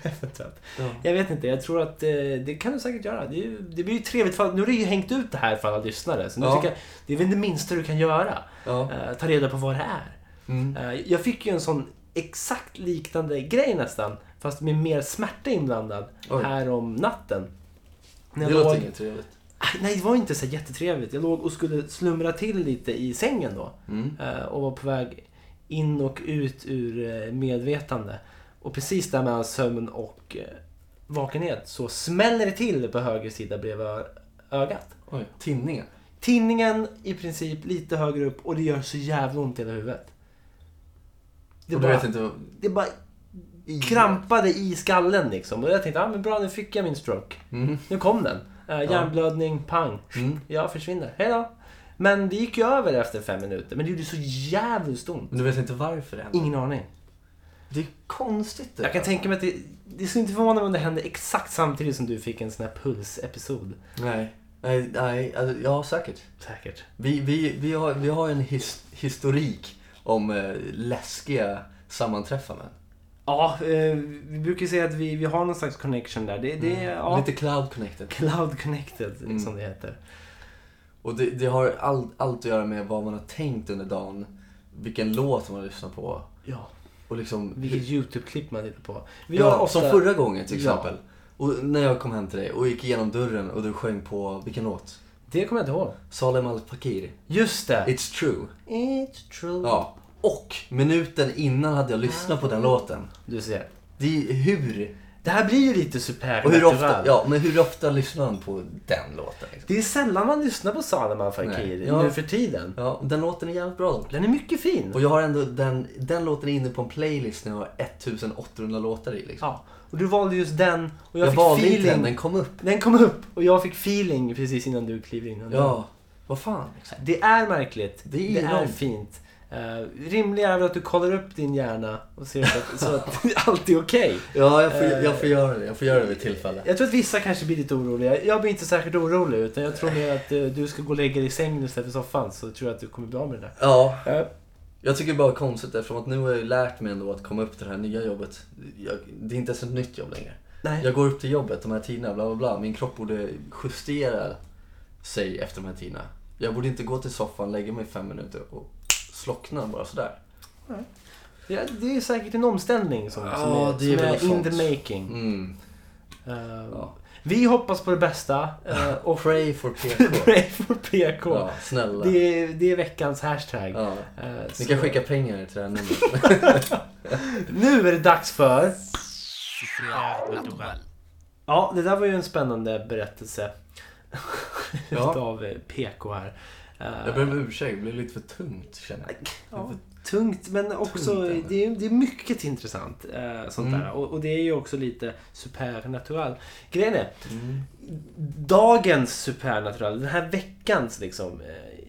[SPEAKER 1] Eventuellt.
[SPEAKER 2] Ja.
[SPEAKER 1] jag vet inte, jag tror att eh, det kan du säkert göra. Det, är ju, det blir ju trevligt, för, nu har du ju hängt ut det här för alla lyssnare. Så nu
[SPEAKER 2] Ja.
[SPEAKER 1] tycker jag, det är väl det minsta du kan göra.
[SPEAKER 2] ja.
[SPEAKER 1] Eh, ta reda på vad det är.
[SPEAKER 2] Mm.
[SPEAKER 1] Eh, jag fick ju en sån exakt liknande grej nästan, fast med mer smärta inblandad,
[SPEAKER 2] Oj.
[SPEAKER 1] här om natten. När
[SPEAKER 2] Det
[SPEAKER 1] jag
[SPEAKER 2] låter
[SPEAKER 1] låg- Ah,
[SPEAKER 2] inget trevligt.
[SPEAKER 1] Nej, det var inte så jättetrevligt. Jag låg och skulle slumra till lite i sängen då.
[SPEAKER 2] Mm.
[SPEAKER 1] eh, Och var på väg in och ut ur eh, medvetande. Och precis där mellan sömn och eh, vakenhet så smäller det till på höger sida bredvid ö- ögat.
[SPEAKER 2] Oj, tinningen.
[SPEAKER 1] Tinningen i princip lite högre upp och det gör så jävla ont i hela huvudet. Det
[SPEAKER 2] Och du
[SPEAKER 1] bara,
[SPEAKER 2] vet inte vad...
[SPEAKER 1] det bara krampade i skallen liksom. Och jag tänkte, ah, men bra nu fick jag min stroke.
[SPEAKER 2] Mm.
[SPEAKER 1] Nu kom den. Eh, Hjärnblödning, pang.
[SPEAKER 2] Mm.
[SPEAKER 1] Jag försvinner. Hej då. Men det gick ju över efter fem minuter. Men det gjorde så jävligt ont.
[SPEAKER 2] Men du vet inte varför det händer.
[SPEAKER 1] Ingen aning.
[SPEAKER 2] Det är konstigt det
[SPEAKER 1] Jag kan
[SPEAKER 2] där.
[SPEAKER 1] tänka mig att det... Det skulle inte förvåna mig om det hände exakt samtidigt som du fick en sån här puls-episod.
[SPEAKER 2] Nej. Nej, nej. Alltså, ja, säkert.
[SPEAKER 1] Säkert.
[SPEAKER 2] Vi, vi, vi, har, vi har en his, historik om eh, läskiga sammanträffanden.
[SPEAKER 1] Ja, eh, vi brukar ju säga att vi, vi har någon slags connection där. Det, det är... Ja,
[SPEAKER 2] Lite cloud connected.
[SPEAKER 1] Cloud connected, som det heter.
[SPEAKER 2] Och det, det har all, allt att göra med vad man har tänkt under dagen, vilken låt man har lyssnat på
[SPEAKER 1] Ja.
[SPEAKER 2] och liksom...
[SPEAKER 1] Vilket YouTube-klipp man tittar på. Vi
[SPEAKER 2] Ja,
[SPEAKER 1] har ofta...
[SPEAKER 2] Som förra gången till
[SPEAKER 1] Ja.
[SPEAKER 2] exempel. Och när jag kom hem till dig och gick igenom dörren och du sjöng på, vilken låt?
[SPEAKER 1] Det kommer jag inte ihåg.
[SPEAKER 2] Salem Al Fakir,
[SPEAKER 1] Just det!
[SPEAKER 2] It's True.
[SPEAKER 1] It's true.
[SPEAKER 2] Ja. Och minuten innan hade jag lyssnat på den låten.
[SPEAKER 1] Du ser.
[SPEAKER 2] Det är hur...
[SPEAKER 1] Det här blir ju lite super
[SPEAKER 2] Och hur ofta, ja, men hur ofta lyssnar man på den låten? Liksom?
[SPEAKER 1] Det är sällan man lyssnar på Salman Fakir
[SPEAKER 2] Nej. Ja.
[SPEAKER 1] nu för tiden.
[SPEAKER 2] Ja, den låten är jävligt bra dock.
[SPEAKER 1] Den är mycket fin.
[SPEAKER 2] Och jag har ändå den, den låten är inne på en playlist när jag har 1800 låtar i. Liksom.
[SPEAKER 1] Ja. Och du valde just den och jag,
[SPEAKER 2] jag
[SPEAKER 1] fick
[SPEAKER 2] valde
[SPEAKER 1] feeling.
[SPEAKER 2] inte den, den kom upp.
[SPEAKER 1] Den kom upp och jag fick feeling precis innan du kliver in.
[SPEAKER 2] Ja, vad fan. Liksom.
[SPEAKER 1] Det är märkligt.
[SPEAKER 2] Det är
[SPEAKER 1] det är
[SPEAKER 2] långt.
[SPEAKER 1] fint. Eh, rimliga är väl att du kollar upp din hjärna och ser så att, så att allt är okej.
[SPEAKER 2] Ja, jag får,
[SPEAKER 1] Eh,
[SPEAKER 2] jag får göra det. Jag får göra det vid tillfälle.
[SPEAKER 1] Jag tror att vissa kanske blir lite oroliga. Jag blir inte särskilt orolig utan jag tror mer att eh, du ska gå och lägga dig i sängen istället för soffan så tror jag att du kommer bli av med det
[SPEAKER 2] Ja,
[SPEAKER 1] där. Eh,
[SPEAKER 2] jag tycker bara konstigt eftersom att nu har jag ju lärt mig ändå att komma upp till det här nya jobbet. Jag, det är inte ens ett nytt jobb längre.
[SPEAKER 1] nej.
[SPEAKER 2] Jag går upp till jobbet de här tiderna, bla bla bla. Min kropp borde justera sig efter de här tiderna. Jag borde inte gå till soffan, lägga mig fem minuter och slockna bara sådär.
[SPEAKER 1] Ja, det är säkert en omställning som, som
[SPEAKER 2] Ja,
[SPEAKER 1] är,
[SPEAKER 2] det är
[SPEAKER 1] som
[SPEAKER 2] väl
[SPEAKER 1] är
[SPEAKER 2] något
[SPEAKER 1] in
[SPEAKER 2] sånt.
[SPEAKER 1] the making.
[SPEAKER 2] Mm.
[SPEAKER 1] Eh,
[SPEAKER 2] Ja.
[SPEAKER 1] Vi hoppas på det bästa. eh,
[SPEAKER 2] Och pray for PK.
[SPEAKER 1] Pray for PK.
[SPEAKER 2] ja, snälla.
[SPEAKER 1] Det, är, det är veckans hashtag.
[SPEAKER 2] Ja.
[SPEAKER 1] Eh,
[SPEAKER 2] Ni
[SPEAKER 1] så-
[SPEAKER 2] kan skicka pengar till det här numret.
[SPEAKER 1] Nu är det dags för... Ja, det där var ju en spännande berättelse.
[SPEAKER 2] Ja.
[SPEAKER 1] Utav eh, PK här. Eh,
[SPEAKER 2] Jag ber om ursäkt, det blev lite för tungt känner jag.
[SPEAKER 1] Ja, tungt, men också
[SPEAKER 2] Tungt, eller?
[SPEAKER 1] det, är, det är mycket intressant. Eh, sånt
[SPEAKER 2] Mm.
[SPEAKER 1] där. Och, och det är ju också lite supernatural. Grejen är,
[SPEAKER 2] Mm.
[SPEAKER 1] dagens supernatural, den här veckans liksom, eh,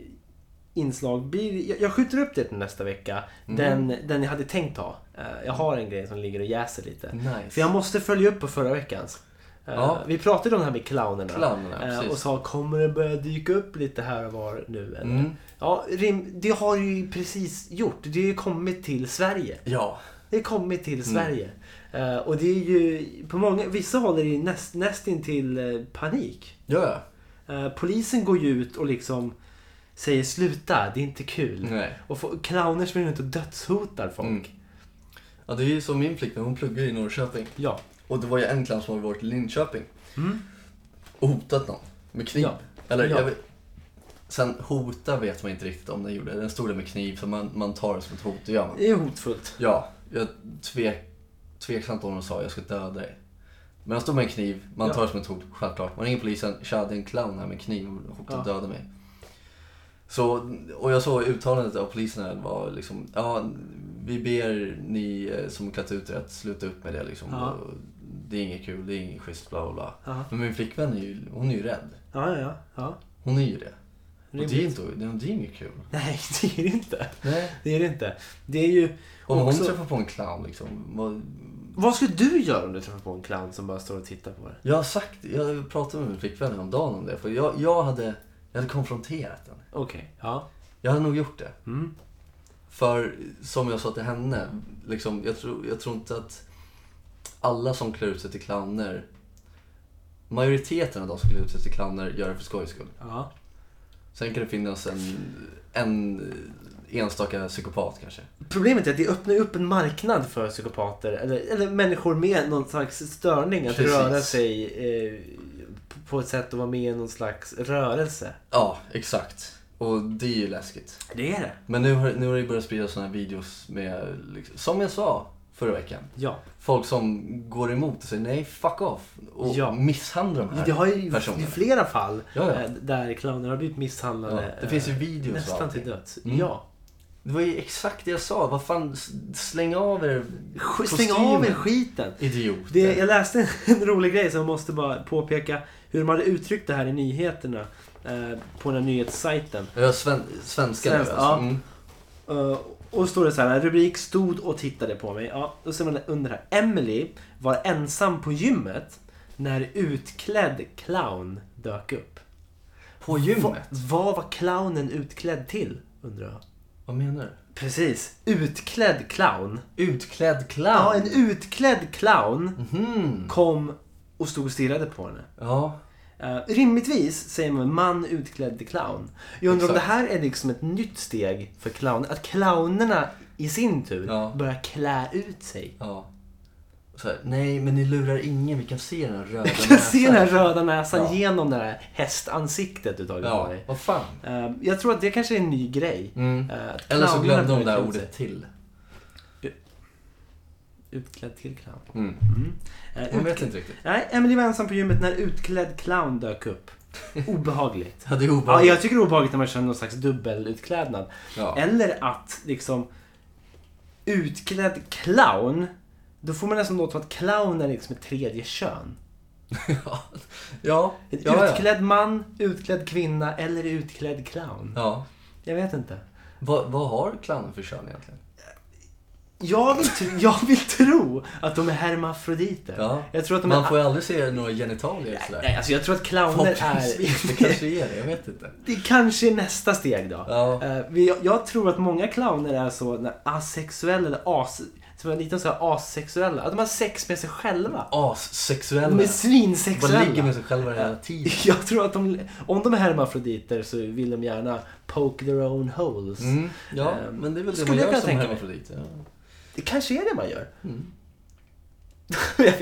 [SPEAKER 1] inslag blir... Jag, jag skjuter upp det till nästa vecka.
[SPEAKER 2] Mm.
[SPEAKER 1] Den, den jag hade tänkt ha. Eh, jag har en grej som ligger och jäser lite. För
[SPEAKER 2] Nice.
[SPEAKER 1] jag måste följa upp på förra veckans. Eh,
[SPEAKER 2] Ja.
[SPEAKER 1] Vi pratade om det här med clownerna.
[SPEAKER 2] Clownerna,
[SPEAKER 1] Eh,
[SPEAKER 2] precis.
[SPEAKER 1] och sa, kommer det börja dyka upp lite här och var nu? Eller?
[SPEAKER 2] Mm.
[SPEAKER 1] Ja, rim, det har ju precis gjort. Det har ju kommit till Sverige.
[SPEAKER 2] Ja.
[SPEAKER 1] Det har kommit
[SPEAKER 2] Mm.
[SPEAKER 1] till Sverige. Eh, och det är ju på många, vissa håll är det ju näst, nästintill eh, panik.
[SPEAKER 2] Ja, ja.
[SPEAKER 1] Eh, polisen går ju ut och liksom säger sluta, det är inte kul.
[SPEAKER 2] Nej.
[SPEAKER 1] Och få, clowner springer runt och dödshotar folk.
[SPEAKER 2] Mm. Ja, det är ju som min flickvän, hon pluggar i Norrköping.
[SPEAKER 1] Ja. Mm.
[SPEAKER 2] Och det var ju en clown som hade varit i Linköping. Och hotat någon. Med kniv.
[SPEAKER 1] Ja.
[SPEAKER 2] Eller,
[SPEAKER 1] Ja.
[SPEAKER 2] jag vet, sen hota vet man inte riktigt om den gjorde. Den stod där med kniv, så man, man tar det som ett hot. Det gör man.
[SPEAKER 1] Det är hotfullt.
[SPEAKER 2] Ja, jag tvek, tveksamt om de sa jag ska döda dig. Men han stod med en kniv, man
[SPEAKER 1] Ja.
[SPEAKER 2] tar det som ett hot, självklart. Man ringer polisen, tja det är en clown här med en kniv och hotar att
[SPEAKER 1] Ja.
[SPEAKER 2] döda mig. Så, och jag såg uttalandet av polisen här var liksom, ja vi ber ni eh, som klätt ut er att sluta upp med det liksom.
[SPEAKER 1] Ja.
[SPEAKER 2] Och Det är inget kul, det är inget schysst, bla bla bla.
[SPEAKER 1] Ja,
[SPEAKER 2] Men min flickvän är ju, hon är ju rädd.
[SPEAKER 1] ja, ja. ja.
[SPEAKER 2] Hon är ju det. Och det är,
[SPEAKER 1] Rimligt.
[SPEAKER 2] inte, det är inget kul.
[SPEAKER 1] Nej, det är det inte.
[SPEAKER 2] Nej.
[SPEAKER 1] Det är det inte. Det är ju...
[SPEAKER 2] Om hon
[SPEAKER 1] Också-
[SPEAKER 2] träffar på en clown liksom, vad,
[SPEAKER 1] Vad skulle du göra om du träffar på en clown som bara står och tittar på dig?
[SPEAKER 2] Jag har sagt, jag pratade med min flickvän häromdagen om det. För jag, jag, hade, jag hade konfronterat den.
[SPEAKER 1] Okej, ja.
[SPEAKER 2] Jag hade nog gjort det.
[SPEAKER 1] Mm.
[SPEAKER 2] För som jag sa till henne, liksom, jag, tror, jag tror inte att alla som klär ut sig till clowner, majoriteten av de som klär ut sig till clowner gör det för skojs skull.
[SPEAKER 1] Ja.
[SPEAKER 2] Sen kan det finnas en, en enstaka psykopat kanske.
[SPEAKER 1] Problemet är att det öppnar ju upp en marknad för psykopater eller, eller människor med någon slags störning att
[SPEAKER 2] Precis.
[SPEAKER 1] röra sig eh, p- på ett sätt och vara med i någon slags rörelse.
[SPEAKER 2] Ja, exakt. Och det är ju läskigt.
[SPEAKER 1] Det är det.
[SPEAKER 2] Men nu har, nu har det börjat spridas sådana här videos med, liksom, som jag sa förra veckan.
[SPEAKER 1] Ja.
[SPEAKER 2] folk som går emot och säger nej, fuck off och
[SPEAKER 1] Ja.
[SPEAKER 2] misshandlar de här
[SPEAKER 1] Det har ju
[SPEAKER 2] personerna.
[SPEAKER 1] i flera fall
[SPEAKER 2] Ja, ja.
[SPEAKER 1] eh, där clowner har blivit misshandlade.
[SPEAKER 2] Ja, det finns ju
[SPEAKER 1] eh,
[SPEAKER 2] videos och
[SPEAKER 1] Nästan
[SPEAKER 2] allting.
[SPEAKER 1] till döds.
[SPEAKER 2] Mm.
[SPEAKER 1] Ja.
[SPEAKER 2] Det var ju exakt det jag sa. Vad fan, s- släng av er
[SPEAKER 1] Sk- Stäng
[SPEAKER 2] kostymen.
[SPEAKER 1] av er skiten.
[SPEAKER 2] Idioter.
[SPEAKER 1] Det, jag läste en rolig grej som jag måste bara påpeka hur de hade uttryckt det här i nyheterna. Eh, på den här nyhetssajten.
[SPEAKER 2] Ja, sven, svenska nu
[SPEAKER 1] Svensk,
[SPEAKER 2] alltså.
[SPEAKER 1] ja.
[SPEAKER 2] Mm.
[SPEAKER 1] Eh, och står det så här, rubrik stod och tittade på mig. Ja, då ser man under här. Emily var ensam på gymmet när utklädd clown dök upp.
[SPEAKER 2] På gymmet?
[SPEAKER 1] Va, vad var clownen utklädd till? Undrar jag.
[SPEAKER 2] Vad menar du?
[SPEAKER 1] Precis, utklädd clown.
[SPEAKER 2] Utklädd clown?
[SPEAKER 1] Ja, en utklädd clown
[SPEAKER 2] Mhm.
[SPEAKER 1] kom och stod och stirrade på henne.
[SPEAKER 2] Ja.
[SPEAKER 1] Eh, rimligtvis säger man man utklädd till clown. Jag undrar om det
[SPEAKER 2] Exakt.
[SPEAKER 1] här är liksom ett nytt steg för clown. Att clownerna i sin tur
[SPEAKER 2] Ja.
[SPEAKER 1] börjar klä ut sig.
[SPEAKER 2] ja. Så här, nej, men ni lurar ingen. Vi kan se den här röda
[SPEAKER 1] Jag kan se den här röda näsan
[SPEAKER 2] Ja.
[SPEAKER 1] genom det här hästansiktet du tagit på
[SPEAKER 2] Ja,
[SPEAKER 1] dig.
[SPEAKER 2] vad fan.
[SPEAKER 1] Eh, jag tror att det kanske är en ny grej.
[SPEAKER 2] Mm.
[SPEAKER 1] Eh, att
[SPEAKER 2] Eller så
[SPEAKER 1] clownerna
[SPEAKER 2] glömde de det
[SPEAKER 1] börjar klä
[SPEAKER 2] här
[SPEAKER 1] ut sig.
[SPEAKER 2] ordet till.
[SPEAKER 1] Utklädd till clown.
[SPEAKER 2] Mm.
[SPEAKER 1] Eh,
[SPEAKER 2] Man
[SPEAKER 1] utklädd-
[SPEAKER 2] vet inte riktigt.
[SPEAKER 1] Nej, Emily var ensam på gymmet när utklädd clown dök upp. Obehagligt.
[SPEAKER 2] Ja, det är
[SPEAKER 1] ja,
[SPEAKER 2] obehagligt.
[SPEAKER 1] jag tycker det är obehagligt när man känner någon slags dubbelutklädnad.
[SPEAKER 2] Ja.
[SPEAKER 1] Eller att liksom utklädd clown, då får man nästan låta som att clown är liksom ett tredje kön.
[SPEAKER 2] Ja, ja.
[SPEAKER 1] En
[SPEAKER 2] ja, ja.
[SPEAKER 1] utklädd man, utklädd kvinna eller utklädd clown.
[SPEAKER 2] ja.
[SPEAKER 1] Jag vet inte.
[SPEAKER 2] Vad, vad har clowner för kön egentligen?
[SPEAKER 1] Jag vill, tro, jag vill tro att de är hermafroditer.
[SPEAKER 2] Ja.
[SPEAKER 1] Jag tror att de är...
[SPEAKER 2] Man får ju aldrig se några genitalier och sådär.
[SPEAKER 1] Nej, alltså jag tror att clowner
[SPEAKER 2] Förhoppningsvis, det
[SPEAKER 1] är...
[SPEAKER 2] kanske är det, jag vet inte.
[SPEAKER 1] Det kanske är nästa steg då.
[SPEAKER 2] Ja.
[SPEAKER 1] Eh, vi- jag, jag tror att många clowner är så när asexuella eller as... Som är lite så här assexuella. Att de har sex med sig själva.
[SPEAKER 2] Assexuella.
[SPEAKER 1] De är
[SPEAKER 2] Bara ligger
[SPEAKER 1] svinsexuella.
[SPEAKER 2] med sig själva hela tiden.
[SPEAKER 1] Jag tror att de, om de är hermafroditer så vill de gärna poke their own holes.
[SPEAKER 2] Mm, ja,
[SPEAKER 1] Ehm,
[SPEAKER 2] men det är väl det
[SPEAKER 1] skulle
[SPEAKER 2] man
[SPEAKER 1] jag
[SPEAKER 2] gör
[SPEAKER 1] kunna
[SPEAKER 2] som
[SPEAKER 1] tänka mig.
[SPEAKER 2] hermafrodit. Ja.
[SPEAKER 1] Det kanske är det man gör.
[SPEAKER 2] Mm.
[SPEAKER 1] jag, jag,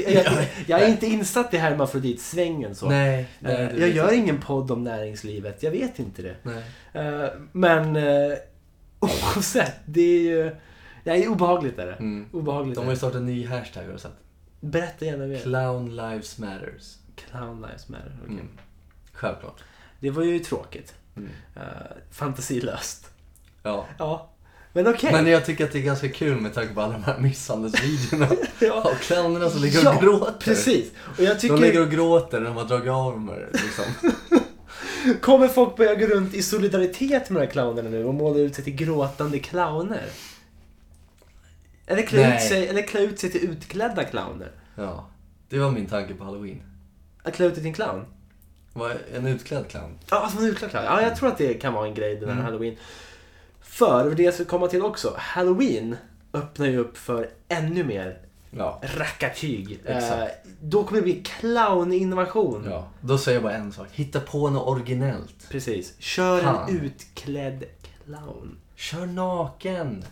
[SPEAKER 1] jag är
[SPEAKER 2] Nej.
[SPEAKER 1] inte insatt i hermafroditsvängen så.
[SPEAKER 2] Nej,
[SPEAKER 1] Eh,
[SPEAKER 2] nej, det
[SPEAKER 1] jag
[SPEAKER 2] vet
[SPEAKER 1] gör ingen podd om näringslivet, jag vet inte det.
[SPEAKER 2] Nej.
[SPEAKER 1] Eh, men eh, oavsett, det är ju... Nej, obehagligt är det.
[SPEAKER 2] Mm.
[SPEAKER 1] Obehagligt
[SPEAKER 2] De
[SPEAKER 1] är
[SPEAKER 2] har ju
[SPEAKER 1] det.
[SPEAKER 2] startat en ny hashtag har du sett?
[SPEAKER 1] Berätta gärna mer.
[SPEAKER 2] Clown lives matters.
[SPEAKER 1] Clown lives matter. okej.
[SPEAKER 2] Mm. Självklart.
[SPEAKER 1] Det var ju tråkigt.
[SPEAKER 2] Mm.
[SPEAKER 1] Eh, fantasilöst.
[SPEAKER 2] Ja.
[SPEAKER 1] Ja, men okej.
[SPEAKER 2] Men jag tycker att det är ganska kul med tanke på alla de här misshandelsvideorna.
[SPEAKER 1] Ja,
[SPEAKER 2] Av clownerna som ligger och
[SPEAKER 1] Ja,
[SPEAKER 2] gråter.
[SPEAKER 1] precis. Och jag
[SPEAKER 2] De ligger
[SPEAKER 1] tycker,
[SPEAKER 2] och gråter när de har dragit av dem här, liksom.
[SPEAKER 1] kommer folk börja gå runt i solidaritet med de här clownerna nu och måla ut sig till gråtande clowner? Eller klä, ut
[SPEAKER 2] Nej.
[SPEAKER 1] sig, eller klä ut sig till utklädda clowner?
[SPEAKER 2] Ja. Det var min tanke på halloween.
[SPEAKER 1] Att klä ut sig till en clown?
[SPEAKER 2] Vad- En utklädd clown.
[SPEAKER 1] Ja, alltså, som en utklädd clown.
[SPEAKER 2] Mm.
[SPEAKER 1] Ja, jag tror att det kan vara en grej den här halloween. För, det jag skulle komma till också, halloween öppnar ju upp för ännu mer
[SPEAKER 2] Ja.
[SPEAKER 1] rackartyg.
[SPEAKER 2] Exakt.
[SPEAKER 1] Eh, då kommer det bli clowninvasion.
[SPEAKER 2] ja. Då säger jag bara en sak. Hitta på något originellt.
[SPEAKER 1] Precis. Kör
[SPEAKER 2] Fan.
[SPEAKER 1] en utklädd clown.
[SPEAKER 2] Kör naken.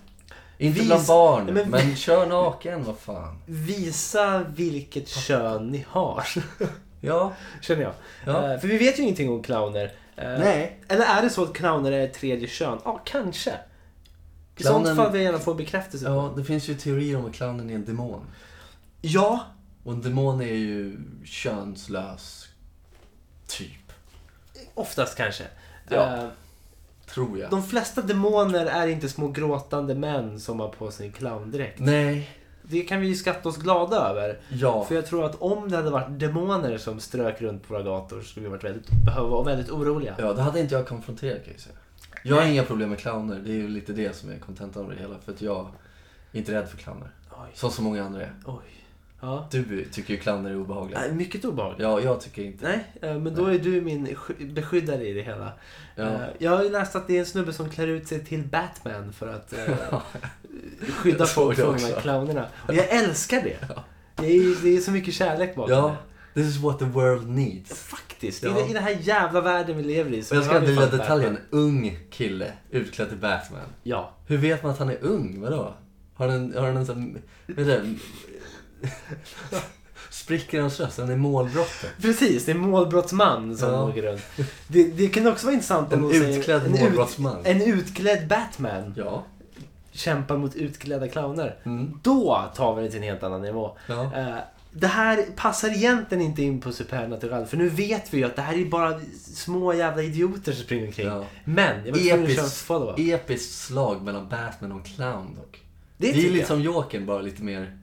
[SPEAKER 2] Inte
[SPEAKER 1] Vis-
[SPEAKER 2] bland barn,
[SPEAKER 1] Nej, men-
[SPEAKER 2] men... kör naken. Vad fan.
[SPEAKER 1] Visa vilket kön ni har.
[SPEAKER 2] Ja.
[SPEAKER 1] Känner jag.
[SPEAKER 2] Ja.
[SPEAKER 1] Eh, för vi vet ju ingenting om clowner. Eh,
[SPEAKER 2] Nej.
[SPEAKER 1] Eller är det så att clowner är ett tredje kön? Ja, kanske. I
[SPEAKER 2] Clownen-
[SPEAKER 1] sånt fall vill jag gärna få en bekräftelse. på.
[SPEAKER 2] Ja, det finns ju teorier om att clownen är en demon.
[SPEAKER 1] ja,
[SPEAKER 2] Och en demon är ju könslös. Typ.
[SPEAKER 1] Oftast kanske.
[SPEAKER 2] Ja.
[SPEAKER 1] Eh,
[SPEAKER 2] Tror jag.
[SPEAKER 1] De flesta demoner är inte små gråtande män som har på sig en clowndräkt.
[SPEAKER 2] Nej.
[SPEAKER 1] Det kan vi ju skatta oss glada över.
[SPEAKER 2] Ja.
[SPEAKER 1] För jag tror att om det hade varit demoner som strök runt på våra gator så skulle vi varit väldigt, behöva vara väldigt oroliga.
[SPEAKER 2] Ja, det hade inte jag konfronterat kan jag säga. Jag har inga problem med clowner. Det är ju lite det som är kontentan av det hela. För att jag är inte rädd för clowner.
[SPEAKER 1] Oj,
[SPEAKER 2] Som så många andra är.
[SPEAKER 1] oj. Ja.
[SPEAKER 2] Du tycker ju clowner är obehagliga.
[SPEAKER 1] Nej, Mycket obehagligt.
[SPEAKER 2] Ja, jag tycker inte.
[SPEAKER 1] Nej, eh, men då är du min sk- beskyddare i det hela.
[SPEAKER 2] Ja.
[SPEAKER 1] Eh, Jag har ju läst att det är en snubbe som klär ut sig till Batman för att eh, skydda
[SPEAKER 2] Jag såg
[SPEAKER 1] folk
[SPEAKER 2] det
[SPEAKER 1] från de här
[SPEAKER 2] också.
[SPEAKER 1] clownerna. Och jag älskar det. Det är, det är så mycket kärlek bakom det.
[SPEAKER 2] Ja, this is what the world needs.
[SPEAKER 1] Faktiskt.
[SPEAKER 2] Ja.
[SPEAKER 1] I, den- I den här jävla världen vi lever i. så
[SPEAKER 2] Och jag ska
[SPEAKER 1] har vi
[SPEAKER 2] driva
[SPEAKER 1] fan
[SPEAKER 2] detaljen.
[SPEAKER 1] Batman.
[SPEAKER 2] Ung kille utklädd till Batman.
[SPEAKER 1] Ja.
[SPEAKER 2] Hur vet man att han är ung? Vadå? Har han, har han en sån... Vet du, spricker hans röst? Han är målbrottet.
[SPEAKER 1] Precis, det är en målbrottsman som
[SPEAKER 2] Ja.
[SPEAKER 1] åker runt. Det, det kan också vara intressant om
[SPEAKER 2] En
[SPEAKER 1] de säger-
[SPEAKER 2] utklädd
[SPEAKER 1] en ut-
[SPEAKER 2] målbrottsman.
[SPEAKER 1] En utklädd Batman
[SPEAKER 2] Ja.
[SPEAKER 1] kämpar mot utklädda clowner.
[SPEAKER 2] Mm.
[SPEAKER 1] Då tar vi det till en helt annan nivå.
[SPEAKER 2] Ja.
[SPEAKER 1] Eh, det här passar egentligen inte in på Supernatural för nu vet vi ju att det här är bara små jävla idioter som springer omkring.
[SPEAKER 2] Ja.
[SPEAKER 1] Men, jag var tvungen att köra en
[SPEAKER 2] Episkt,
[SPEAKER 1] follow-up.
[SPEAKER 2] episkt slag mellan Batman och Clown dock.
[SPEAKER 1] Det
[SPEAKER 2] Det, är
[SPEAKER 1] tycker
[SPEAKER 2] lite
[SPEAKER 1] jag.
[SPEAKER 2] som Jokern, bara lite mer...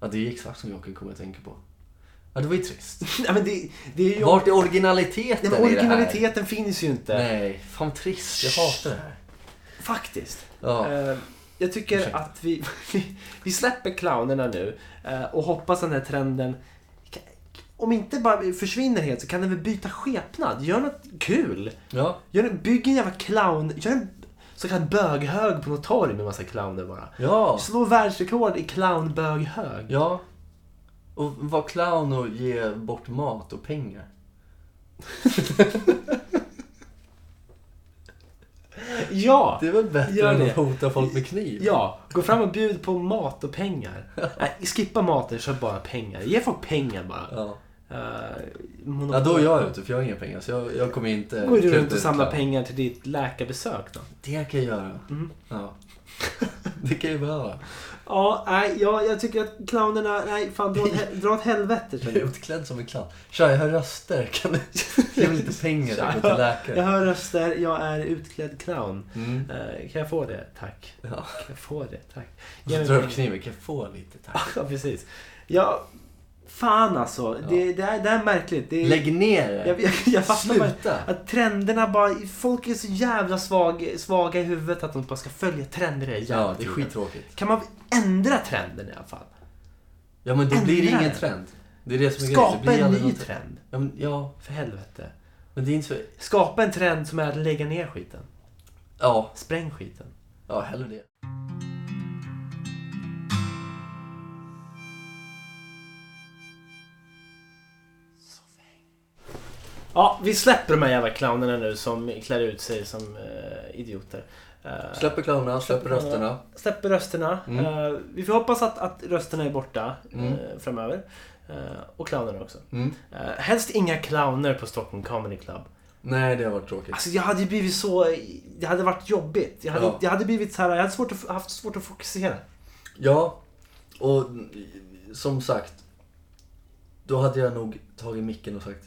[SPEAKER 2] Ja, det är exakt som Jokern kommer jag att tänka på. Ja, det var ju trist.
[SPEAKER 1] Ja, men det, det är ju...
[SPEAKER 2] Vart är originaliteten
[SPEAKER 1] Nej, men
[SPEAKER 2] i det
[SPEAKER 1] originaliteten finns ju inte.
[SPEAKER 2] här? Nej, fan vad trist. Jag hatar det här.
[SPEAKER 1] Faktiskt.
[SPEAKER 2] Ja.
[SPEAKER 1] Eh, jag tycker
[SPEAKER 2] Ursäkta.
[SPEAKER 1] att vi, vi släpper clownerna nu eh, och hoppas den här trenden, om inte bara försvinner helt så kan den väl byta skepnad. Gör något kul.
[SPEAKER 2] Ja,
[SPEAKER 1] Gör en, bygg en jävla clown, gör en så kallad böghög på något torg med massa clowner bara.
[SPEAKER 2] ja,
[SPEAKER 1] Slå världsrekord i clownböghög.
[SPEAKER 2] ja. Och vara clown och ge bort mat och pengar.
[SPEAKER 1] Ja!
[SPEAKER 2] Det är väl bättre
[SPEAKER 1] Gör
[SPEAKER 2] än
[SPEAKER 1] det.
[SPEAKER 2] att hota folk med kniv?
[SPEAKER 1] Ja, gå fram och bjud på mat och pengar. Nej, skippa maten, köp bara pengar. Ge folk pengar bara.
[SPEAKER 2] Ja.
[SPEAKER 1] Eh,
[SPEAKER 2] ja, då är jag ute för jag har inga pengar så jag, jag kommer inte...
[SPEAKER 1] Går du
[SPEAKER 2] klä ut
[SPEAKER 1] runt och
[SPEAKER 2] till
[SPEAKER 1] samlar
[SPEAKER 2] clown.
[SPEAKER 1] pengar till ditt läkarbesök då?
[SPEAKER 2] Det kan jag göra.
[SPEAKER 1] Mm.
[SPEAKER 2] Ja. Det kan jag behöva.
[SPEAKER 1] Ja, nej, ja, jag tycker att clownerna, nej fan dra åt, he- dra åt helvete
[SPEAKER 2] Jag
[SPEAKER 1] känner
[SPEAKER 2] är
[SPEAKER 1] jag.
[SPEAKER 2] utklädd som en clown. Tja, jag har röster. Kan du ge mig lite pengar? Jag går till
[SPEAKER 1] Jag
[SPEAKER 2] läkare.
[SPEAKER 1] hör röster, jag är utklädd clown.
[SPEAKER 2] Mm.
[SPEAKER 1] Eh, kan jag få det? Tack.
[SPEAKER 2] Ja.
[SPEAKER 1] Kan jag få det? Tack.
[SPEAKER 2] Och så
[SPEAKER 1] Ge mig
[SPEAKER 2] drar jag upp
[SPEAKER 1] pengar.
[SPEAKER 2] kniven. Kan jag få lite tack?
[SPEAKER 1] Ja, precis. Ja, Fan alltså.
[SPEAKER 2] Ja.
[SPEAKER 1] Det, det, är, det är märkligt. Det är,
[SPEAKER 2] Lägg ner det!
[SPEAKER 1] jag, jag, jag fattar bara
[SPEAKER 2] Sluta!
[SPEAKER 1] att trenderna bara... Folk är så jävla svag, svaga i huvudet att de bara ska följa trender. i jävla
[SPEAKER 2] Ja, typ. det är
[SPEAKER 1] tiden.
[SPEAKER 2] skittråkigt.
[SPEAKER 1] Kan man ändra trenden i alla fall?
[SPEAKER 2] Ja, men då blir det
[SPEAKER 1] Ändra
[SPEAKER 2] ingen
[SPEAKER 1] det.
[SPEAKER 2] trend. Det är det som är grejen. Det
[SPEAKER 1] Skapa
[SPEAKER 2] blir
[SPEAKER 1] en
[SPEAKER 2] aldrig
[SPEAKER 1] ny
[SPEAKER 2] någon-
[SPEAKER 1] trend.
[SPEAKER 2] Ja, men, ja,
[SPEAKER 1] För helvete.
[SPEAKER 2] men det är inte så...
[SPEAKER 1] Skapa en trend som är att lägga ner skiten.
[SPEAKER 2] Ja,
[SPEAKER 1] Spräng skiten.
[SPEAKER 2] ja hellre det.
[SPEAKER 1] Ja, vi släpper de här jävla clownerna nu som klär ut sig som eh, idioter. Eh,
[SPEAKER 2] Släpper clownerna, släpper
[SPEAKER 1] Släpper clownerna.
[SPEAKER 2] rösterna.
[SPEAKER 1] släpper rösterna.
[SPEAKER 2] Mm.
[SPEAKER 1] Eh, vi får hoppas att, att rösterna är borta
[SPEAKER 2] Mm.
[SPEAKER 1] eh, framöver. Eh, och clownerna också.
[SPEAKER 2] Mm.
[SPEAKER 1] Uh, helst inga clowner på Stockholm Comedy Club.
[SPEAKER 2] Nej, det har varit tråkigt.
[SPEAKER 1] Alltså jag hade ju blivit så... Det hade varit jobbigt. Jag hade,
[SPEAKER 2] Ja.
[SPEAKER 1] jag hade blivit så här, jag hade svårt att, haft svårt att fokusera.
[SPEAKER 2] Ja, och som sagt. Då hade jag nog tagit micken och sagt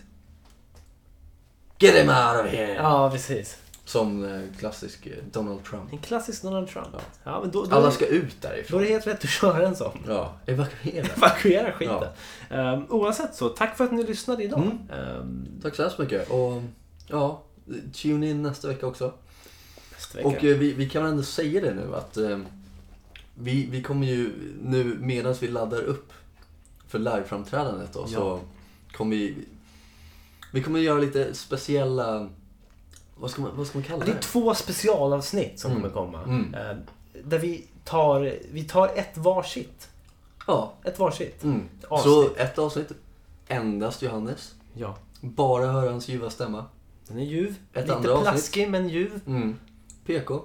[SPEAKER 2] Get him out of here!
[SPEAKER 1] Ja, precis.
[SPEAKER 2] Som eh, klassisk eh, Donald Trump.
[SPEAKER 1] En klassisk Donald Trump. Ja,
[SPEAKER 2] Ja.
[SPEAKER 1] men då, då,
[SPEAKER 2] Alla ska ut
[SPEAKER 1] då är
[SPEAKER 2] därifrån.
[SPEAKER 1] det helt rätt att köra en sån.
[SPEAKER 2] Ja, evakuera.
[SPEAKER 1] Evakuera skiten. Ehm, oavsett så, tack för att ni lyssnade idag.
[SPEAKER 2] Mm.
[SPEAKER 1] Ehm,
[SPEAKER 2] Tack så hemskt mycket. Och ja, tune in nästa vecka också.
[SPEAKER 1] nästa vecka.
[SPEAKER 2] Och eh, vi, vi kan väl ändå säga det nu att eh, vi, vi kommer ju nu medan vi laddar upp för liveframträdandet då, så kommer vi, vi kommer göra lite speciella, vad ska man, vad ska man kalla
[SPEAKER 1] Ja,
[SPEAKER 2] det?
[SPEAKER 1] Det är två specialavsnitt som
[SPEAKER 2] Mm.
[SPEAKER 1] kommer komma.
[SPEAKER 2] Mm.
[SPEAKER 1] Ehm, där vi tar, vi tar ett varsitt.
[SPEAKER 2] Ja.
[SPEAKER 1] Ett varsitt.
[SPEAKER 2] Mm. Så
[SPEAKER 1] Avsnitt.
[SPEAKER 2] ett avsnitt, endast Johannes.
[SPEAKER 1] Ja.
[SPEAKER 2] Bara höra hans ljuva stämma.
[SPEAKER 1] Den är ljuv.
[SPEAKER 2] Ett
[SPEAKER 1] Lite
[SPEAKER 2] andra avsnitt.
[SPEAKER 1] plaskig men ljuv.
[SPEAKER 2] Mm. PK.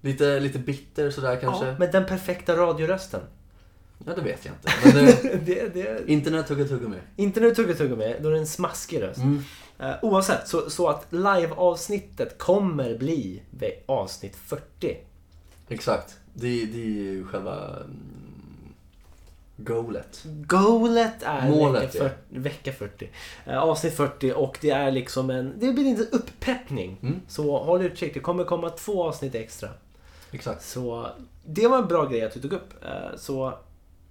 [SPEAKER 2] Lite, lite bitter sådär kanske.
[SPEAKER 1] Ja,
[SPEAKER 2] Ja,
[SPEAKER 1] med den perfekta radiorösten.
[SPEAKER 2] det vet jag inte. Men eh,
[SPEAKER 1] det, det...
[SPEAKER 2] internet tugga tugga med.
[SPEAKER 1] Inte när du tuggar tugga med, då är det en smaskig röst.
[SPEAKER 2] Mm.
[SPEAKER 1] Eh, oavsett, så, så att live-avsnittet kommer bli ve- avsnitt 40.
[SPEAKER 2] Exakt. Det, det är ju själva mm, goalet.
[SPEAKER 1] Goalet är
[SPEAKER 2] Målet,
[SPEAKER 1] vecka,
[SPEAKER 2] ja.
[SPEAKER 1] 40, vecka 40. Eh, avsnitt 40 och det är liksom en... Det blir en upppeppning.
[SPEAKER 2] Mm.
[SPEAKER 1] Så håll utkik, det kommer komma två avsnitt extra.
[SPEAKER 2] Exakt.
[SPEAKER 1] Så det var en bra grej att du tog upp. Eh, så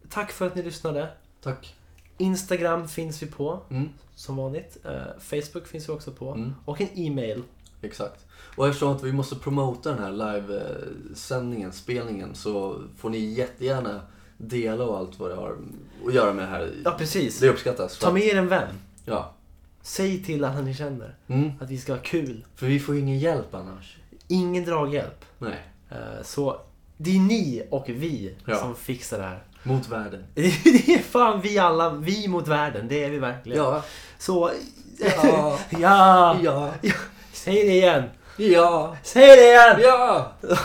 [SPEAKER 1] tack för att ni lyssnade.
[SPEAKER 2] Tack.
[SPEAKER 1] Instagram finns vi på,
[SPEAKER 2] Mm.
[SPEAKER 1] som vanligt. Eh, Facebook finns vi också på.
[SPEAKER 2] Mm.
[SPEAKER 1] Och en e-mail.
[SPEAKER 2] Exakt. Och eftersom att vi måste promota den här livesändningen, spelningen, så får ni jättegärna dela och allt vad det har att göra med det här.
[SPEAKER 1] Ja, precis.
[SPEAKER 2] Det uppskattas.
[SPEAKER 1] Ta med er en vän.
[SPEAKER 2] Ja.
[SPEAKER 1] Säg till alla ni känner
[SPEAKER 2] Mm.
[SPEAKER 1] att vi ska ha kul.
[SPEAKER 2] För vi får ingen hjälp annars.
[SPEAKER 1] Ingen draghjälp.
[SPEAKER 2] Nej.
[SPEAKER 1] Eh, Så det är ni och vi
[SPEAKER 2] Ja.
[SPEAKER 1] som fixar det här.
[SPEAKER 2] Mot världen.
[SPEAKER 1] Det är fan vi alla, vi mot världen. Det är vi verkligen.
[SPEAKER 2] Ja.
[SPEAKER 1] Så...
[SPEAKER 2] Ja.
[SPEAKER 1] ja.
[SPEAKER 2] Ja.
[SPEAKER 1] Säg det igen.
[SPEAKER 2] Ja.
[SPEAKER 1] Säg det igen!
[SPEAKER 2] Ja. Jag vet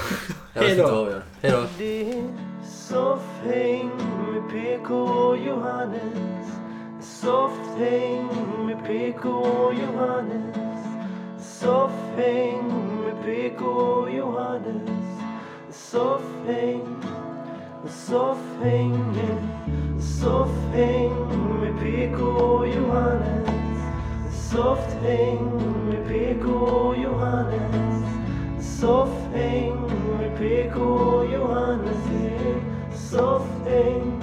[SPEAKER 1] Hej då.
[SPEAKER 2] inte vad vi gör. Hej då.
[SPEAKER 1] Soft häng med PK och Johannes Soft häng med PK och Johannes Soft häng med PK och Johannes Soft häng Soft häng Soft häng med PK och Johannes Soft häng med PK och Johannes Soft häng med PK och Johannes yeah. Soft häng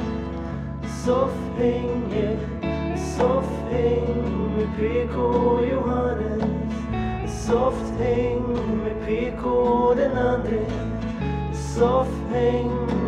[SPEAKER 1] Soft häng yeah. Soft häng med PK och Johannes Soft häng med PK och den andre Soft häng